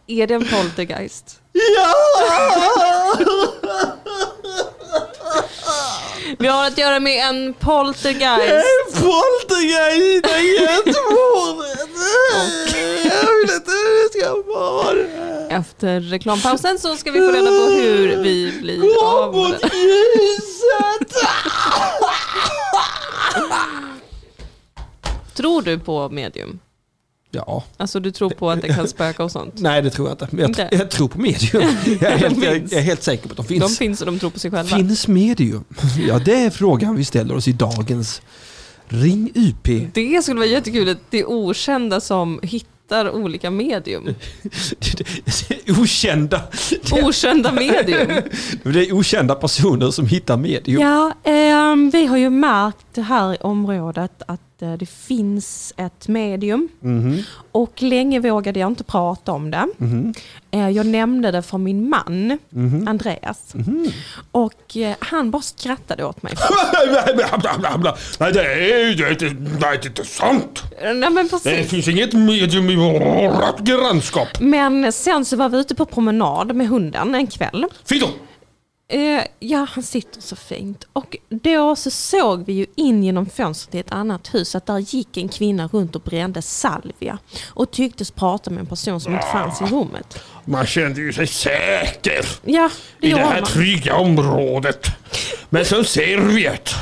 är det en poltergeist? Ja! Vi har att göra med en poltergeist. En poltergeist i Göteborg! Jag vet inte hur det ska vara. Efter reklampausen så ska vi få reda på hur vi blir av Kom med mot det. ljuset! Tror du på medium? Ja. Alltså du tror på att det kan spöka och sånt? Nej, det tror jag inte. Jag, Inte? jag tror på medium. Jag är, helt, jag, finns. jag är helt säker på att de De finns. finns och de tror på sig själva. Finns medium? Ja, det är frågan vi ställer oss i dagens Ring UP. Det skulle vara jättekul att det är okända som hittar olika medium. Okända. Okända medium. Det är okända personer som hittar medium. Ja, ehm, vi har ju märkt här i området att eh, det finns ett medium. Och länge vågade jag inte prata om det. Eh, jag nämnde det för min man, Andreas. Och eh, han bara skrattade åt mig. Nej, det är, det, är, det, är inte sant. Nej, men Det precis. finns inget medium i vårt grannskap. Men sen så var vi ute på promenad med hunden en kväll. Fido! Eh, ja, han sitter så fint. Och då så såg vi ju in genom fönstret i ett annat hus att där gick en kvinna runt och brände salvia och tycktes prata med en person som inte fanns i rummet. Man kände ju sig säker Ja, det i det gjorde här man. trygga området. Men sen ser vi ett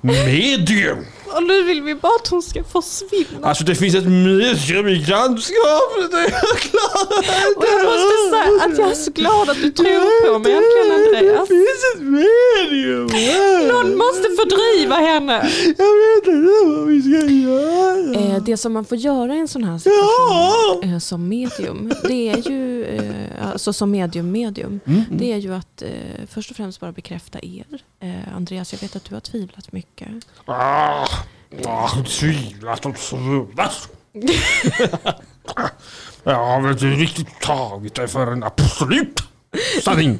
medium. Och nu vill vi bara att hon ska försvinna. Alltså det finns ett medium i grannskapet. Det är jag klar över. Och jag måste säga att jag är så glad att du tror på mig äntligen Andreas. Det finns ett medium! Någon måste fördriva henne. Jag vet inte vad vi ska göra. Eh, det som man får göra i en sån här situation Ja! eh, som medium, det är ju, eh, alltså som medium medium, det är ju att eh, först och främst bara bekräfta er. Eh, Andreas, jag vet att du har tvivlat mycket. Ah, ah, tvivlat och svulat. Jag har väl inte riktigt tagit det för en absolut sanning.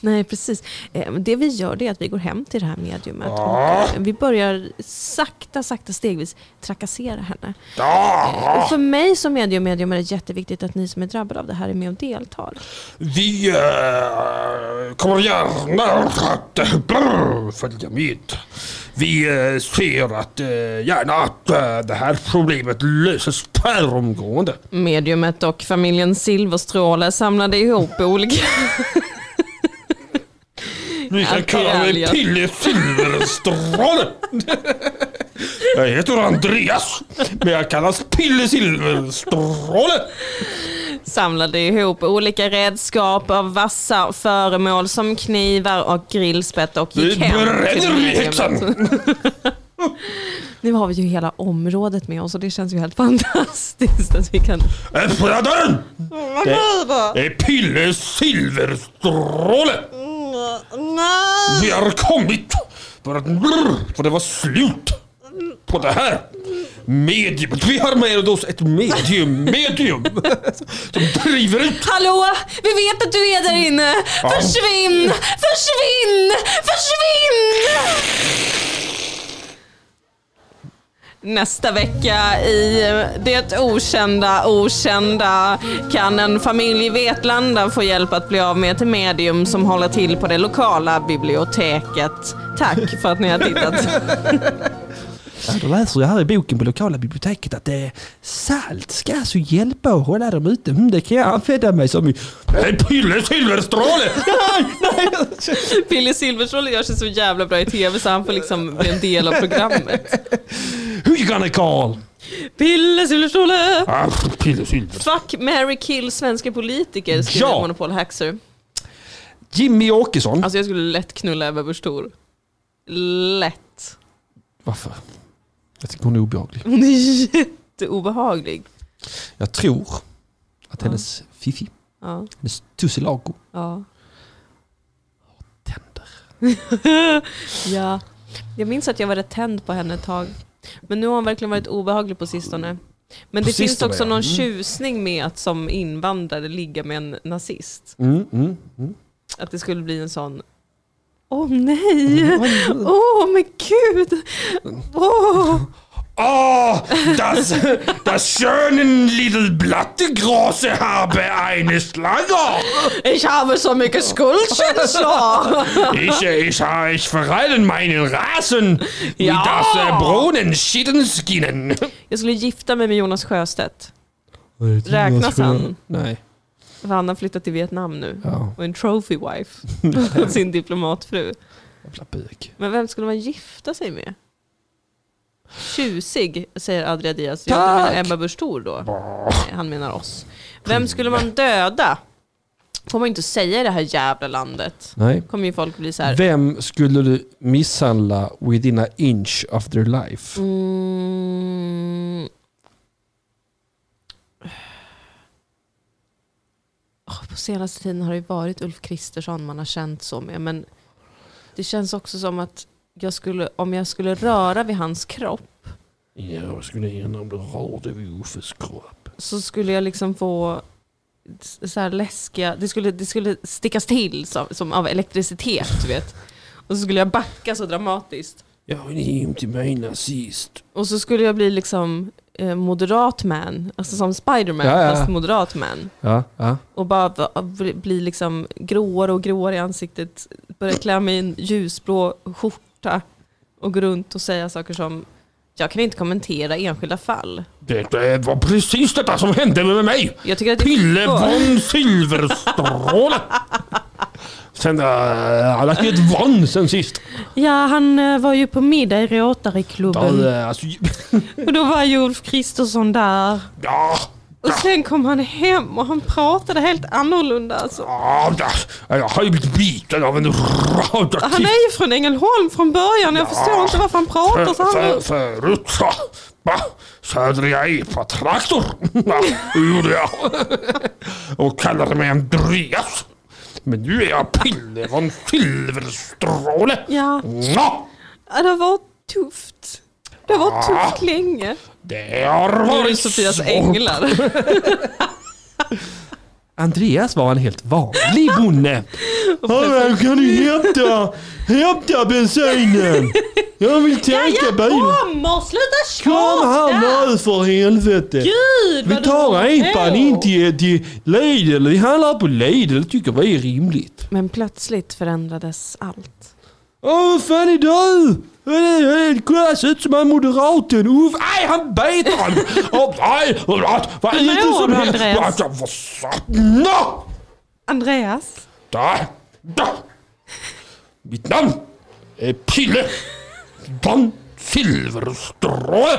Nej, precis. Eh, men det vi gör det är att vi går hem till det här mediumet och eh, vi börjar sakta, sakta, stegvis trakassera henne. Ah, Och för mig som medium medium är det jätteviktigt att ni som är drabbade av det här är med och deltar. vi eh, kommer gärna att eh, brr, följa med. Vi eh, ser att, eh, gärna att eh, det här problemet löses per omgående. Mediumet och familjen Silverstråle samlade ihop olika... Ni kan Allt kalla är mig ärligt. Pille Silverstråle. Jag heter Andreas, men jag kallas Pille Silverstråle. samlade ihop olika redskap av vassa föremål som knivar och grillspett och Vi gick hem. till bränner i mediumet. häxan. Nu har vi ju hela området med oss och det känns ju helt fantastiskt att vi kan... Öppna dörren! Mm, Vad nu då? Äh, Det är Pille Silverstråle. Nej! Vi har kommit för att brr, för det var slut på det här. Medium. Vi har med oss ett medium, medium som driver ut. Hallå! Vi vet att du är där inne! Försvinn! Försvinn! Försvinn! Nästa vecka i Det Okända Okända kan en familj i Vetlanda få hjälp att bli av med ett medium som håller till på det lokala biblioteket. Tack för att ni har tittat. Ja, då Alltså, läser jag här i boken på lokala biblioteket att eh, salt ska alltså hjälpa och hålla dem ute. Mm, det kan jag använda mig som i... En pille silverstråle! Nej, nej! Billy Silverstråle gör sig så jävla bra i tv så han får liksom bli en del av programmet. Who you gonna call? Billy Silverstråle! Ah, Pille Silver. Fuck, Mary kill svenska politiker skriver Ja. Monopol Haxer. Jimmy Åkesson. Alltså jag skulle lätt knulla Ebba Busch Thor. Lätt. Varför? Jag tycker hon är obehaglig. Hon är jätteobehaglig. Jag tror att hennes Fifi, Ja, hennes Tussilago, ja. tänder. ja. Jag minns att jag var rätt tänd på henne ett tag. Men nu har hon verkligen varit obehaglig på sistone. Men På det finns sistone, också ja. Mm. någon tjusning med att som invandrare ligga med en nazist. Mm, mm, mm. Att det skulle bli en sån Åh nej! Mm. Åh men gud! Åh! Oh, das, das schönen little Blattegrase habe eine Schlange. Ich habe så mycket skuldkänsla! Ich, ich, ich verreite meinen Rasen äh, Ja. braunen Schittenskinnen. Jag skulle gifta mig med Jonas Sjöstedt. Räknas han? Nej. För han har flyttat till Vietnam nu. Ja, Och en trophy wife. Sin diplomatfru. jävla bög. Men vem skulle man gifta sig med? Tjusig, säger Adria Diaz. Jag Tack! menar Ebba Busch Thor då. Nej, han menar oss. Vem skulle man döda? Får man ju inte säga i det här jävla landet. Nej. kommer ju folk bli så här. Vem skulle du misshandla within a inch of their life? Mm. Åh, På senaste tiden har det ju varit Ulf Kristersson man har känt så med. Men det känns också som att jag skulle, om jag skulle röra vid hans kropp Jag skulle gärna om du rörde vid Uffes kropp. så skulle jag liksom få s- så här läskiga, det skulle, det skulle stickas till som, som av elektricitet. Du vet. Och så skulle jag backa så dramatiskt. Jag är inte mig nazist. Och så skulle jag bli liksom eh, moderat man, alltså som Spiderman Ja, ja. fast moderat man. Ja, ja. och bara va- bli- bli liksom gråare och gråare i ansiktet. Börja klä mig i en ljusblå skjorta och gå runt och säga saker som jag kan inte kommentera enskilda fall. Det var precis detta som hände med mig. Jag tycker att det Pille Ja. von Silverstråle. Sen, äh, han har skrivit von sen sist. Ja, han eh, var ju på middag i Rotaryklubben Ja, alltså, och då var ju Ulf Kristersson där. ja, Och sen kom han hem och han pratade helt annorlunda. Alltså. ja, jag har ju blivit biten av en radioaktiv... Ah, Han är ju från Ängelholm från början. Jag förstår inte varför han pratar så För- för- här. Förut så, va, söder jag epa-traktor. gjorde jag. Och kallade mig Andreas. Men nu är jag Pille von Silverstråle. Ja, Nå, det var tufft. Det var tufft länge. Ah. det har Nu är varit det Sofias svårt. änglar. Andreas var en helt vanlig bonde. Hörru, kan du hämta, hämta bensinen? Jag vill tanka bilen. Kommer, sluta Kom här nu för helvete. Gud Vi vad du tar håller epan på. in till, till Lidl. Vi handlar på Lidl. tycker vi är rimligt. Men plötsligt förändrades allt. Åh, vad fan är du? Vad är det? Vad är det? Kolla, han ser ut som han moderaten. Uff, nej, han biter han. Åh, nej, förlåt. Vad är det mår som du, händer? Andreas? Alltså, vad satan? Nå! Andreas? Där! Där! Mitt namn är Pille von Silverstråle.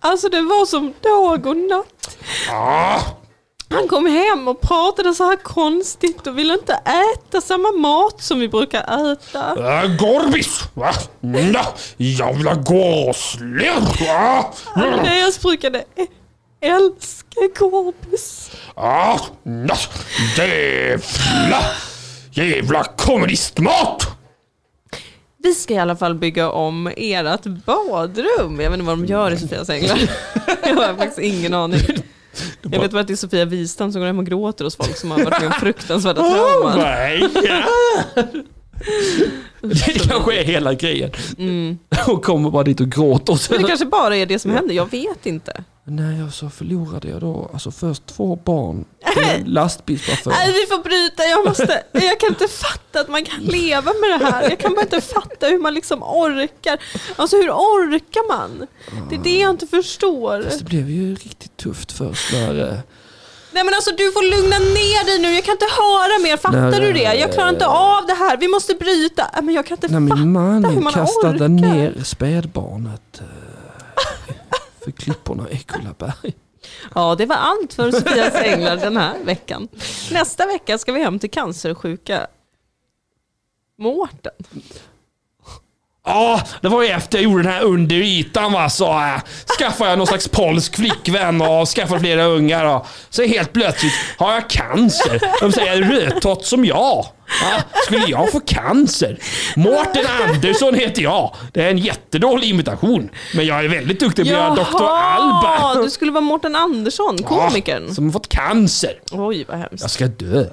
Alltså det var som dag och natt. Ah, Han kom hem och pratade så här konstigt och ville inte äta samma mat som vi brukar äta. äh, Gorbis! Va? Nå, jävla gåsler! Ah, mm, Andreas brukade ä- älska kompis. ah, nå, jävla, jävla kommunistmat! Vi ska i alla fall bygga om ert badrum. Jag vet inte vad de gör i Sofias änglar. Jag har faktiskt ingen aning. Jag vet bara att det är Sofia Wistam som går hem och Oh gråter hos folk som har varit med om fruktansvärda trauman. my god! Det kanske är hela grejen. Och kommer bara dit och gråter. Och sen, Mm. Men det kanske bara är det som händer, jag vet inte. Nej, alltså förlorade jag då alltså först två barn till en lastbilschaufför. Nej, vi får bryta. Jag, måste, jag kan inte fatta att man kan leva med det här. Jag kan bara inte fatta hur man liksom orkar. Alltså hur orkar man? Det är det jag inte förstår. Fast det blev ju riktigt tufft först när... eh, Nej men alltså du får lugna ner dig nu. Jag kan inte höra mer. Fattar Nej, du det? Jag klarar inte av det här. Vi måste bryta. Nej, Men jag kan inte När fatta min hur man man kastade orkar. ner spädbarnet eh, för klipporna i Kullaberg. Ja, det var allt för Sofias änglar den här veckan. Nästa vecka ska vi hem till cancersjuka Mårten. Ja, det var ju efter jag gjorde den här under ytan va, så äh, skaffade jag någon slags polsk flickvän och skaffade flera ungar. Och, så helt plötsligt har jag cancer. De säger rödtott som jag. Va? Skulle jag få cancer? Mårten Andersson heter jag. Det är en jättedålig imitation. Men jag är väldigt duktig på att göra Dr. Albert. du skulle vara Mårten Andersson, komikern. Ja, som har fått cancer. Oj, vad hemskt. Jag ska dö.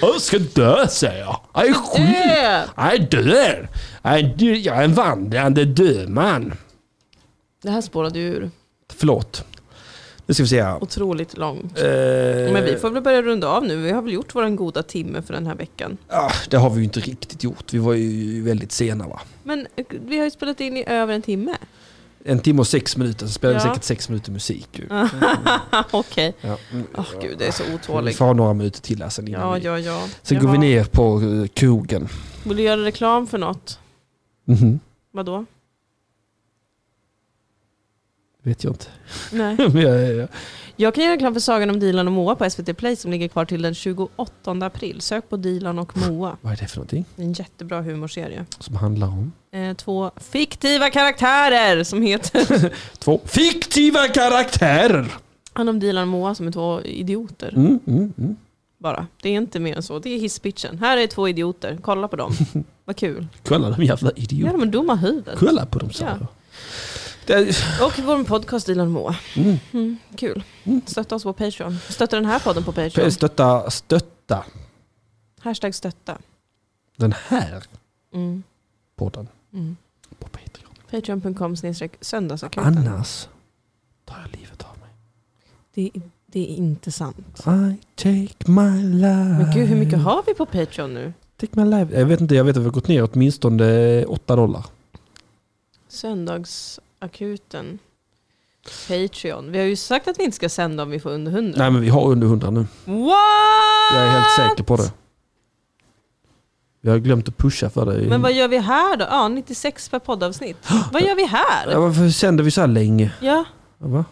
jag ska dö säger jag. Jag är sjuk. Äh, Jag är död. Jag är, dö- jag är en vandrande dödman. Det här spårade ju ur. Förlåt. Nu ska vi se här. Otroligt långt. Eh, Men vi får väl börja runda av nu. Vi har väl gjort vår goda timme för den här veckan. Eh, ah, det har vi ju inte riktigt gjort. Vi var ju väldigt sena va? Men eh, vi har ju spelat in i över en timme. En timme och sex minuter, så spelar vi Ja. säkert sex minuter musik. Ju. Ah, Okej. Ja. Mm. Åh gud, det är så Vi otålig. får ha några minuter till här sen innan Ja, vi... ja, ja. Sen går vi Jaha. ner på eh, krogen. Vill du göra reklam för något? Mhm. Vadå? Vet jag inte. Nej. Men jag, jag, Jag kan göra reklam för Sagan om Dilan och Moa på SVT Play som ligger kvar till den 28 april. Sök på Dilan och Moa. vad är det för någonting Det är En jättebra humorserie. som handlar om? Eh, två fiktiva karaktärer som heter Två fiktiva karaktärer! Han om Dilan och Moa som är två idioter. Mm, mm, mm. Bara. Det är inte mer än så. Det är hisspitchen. Här är två idioter. Kolla på dem. Vad kul. Kolla de jävla Ja, idioterna. de är dumma i huvudet. Kolla på dem sa Ja. jag. Det- Och vår podcast Dilan och Moa. Mm. Mm, kul. Stötta oss på Patreon. Stötta den här podden på Patreon. Stötta, stötta Hashtag stötta. den här Mm. podden Mm. på Patreon. Patreon.com snedstreck söndagsakuten. Annars tar jag livet av mig. Det, det är inte sant. I take my life. Men gud, hur mycket har vi på Patreon nu? Take my life. Jag vet inte, jag vet att vi har gått ner åtminstone 8 dollar. Söndagsakuten. Patreon. Vi har ju sagt att vi inte ska sända om vi får under 100. Nej men vi har under 100 nu. What? Jag är helt säker på det. Jag har glömt att pusha för det. Men vad gör vi här då? Ja, 96 per poddavsnitt. Vad gör vi ja, här? varför sänder vi så här länge? Ja, Va?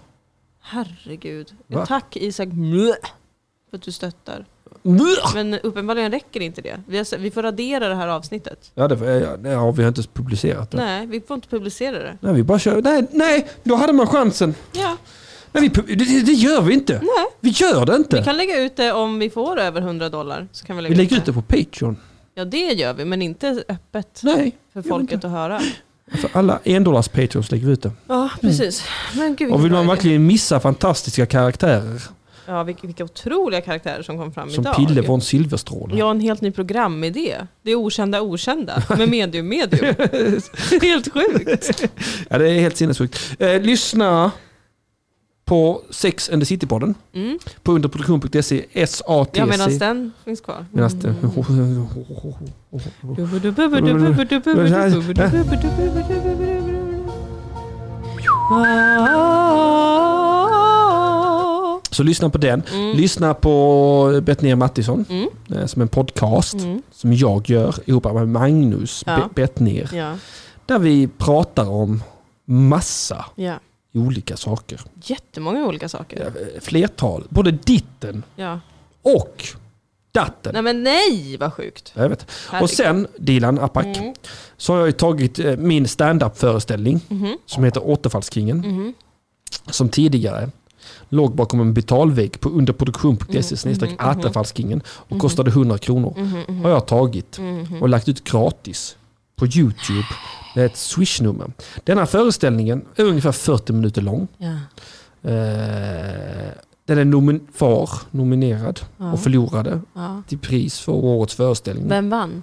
herregud. Va? Tack Isak för att du stöttar. Men uppenbarligen räcker inte det. Vi, har, vi får radera det här avsnittet. Ja, det, ja, nej, ja, vi har inte ens publicerat det. Nej. Nej, vi får inte publicera det. vi bara kör. Nej, nej, då hade man chansen. Ja, Nej, vi, pu- det- det, det gör vi inte. nej. Vi gör det inte. Vi kan lägga ut det om vi får över 100 dollar. Så kan vi lägga lägger ut det på Patreon. Ja, det gör vi, men inte öppet Nej, för gör folket inte. att höra. för alla endollars Patreons lägger vi ut det. Ja, precis. Men gud, Och vill vilken man bra idé. verkligen missa fantastiska karaktärer Ja, vilka, vilka otroliga karaktärer som kom fram som idag. Pille från Silverstråle. Jag har en helt ny programidé. Det är okända okända med medium medium. helt sjukt. Ja, det är helt sinnessjukt. Eh, lyssna på Sex and the City-podden Mm. på underproduktion.se, SATC. Ja, medan Mm. den finns kvar. Medans den- Så lyssna på den. Lyssna på Betnér Mattisson Mm. eh, som en podcast Mm. som jag gör ihop med Magnus Ja. ja. Bettner. Ja, Där vi pratar om massa ja. olika saker. Jättemånga olika saker. Eh, Flertal. Både ditten Ja. och datten. Nej men nej vad sjukt. Jag vet. Och sen, Dilan Apak, Mm. så har jag ju tagit eh, min stand-up-föreställning Mhm. som heter Återfallskringen. Som tidigare låg bakom en betalvägg på Mm. underproduktion.se E snedstreck Mhm. återfallskringen och kostade 100 kronor. Har jag tagit Mhm. och lagt ut gratis på YouTube med ett swishnummer. Denna föreställningen är ungefär 40 minuter lång. Ja. Eh, Den är nomin- var nominerad och förlorade Ja. till pris för årets föreställning. Vem vann?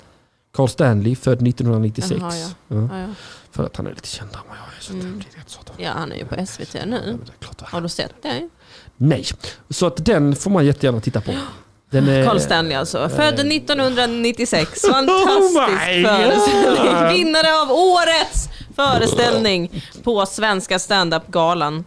Carl Stanley, född 1996. Jaha, ja. Ja, Ja, ja. För att han är lite kändare än vad jag är. Så det blir rätt satan. ja, han är ju på SVT nu. Det är klart det är. Har du sett det? Nej, så att den får man jättegärna titta på. Den är, Carl Stanley alltså. Född 1996. Eh, Oh Fantastisk my föreställning. Vinnare av årets föreställning på Svenska stand-up galan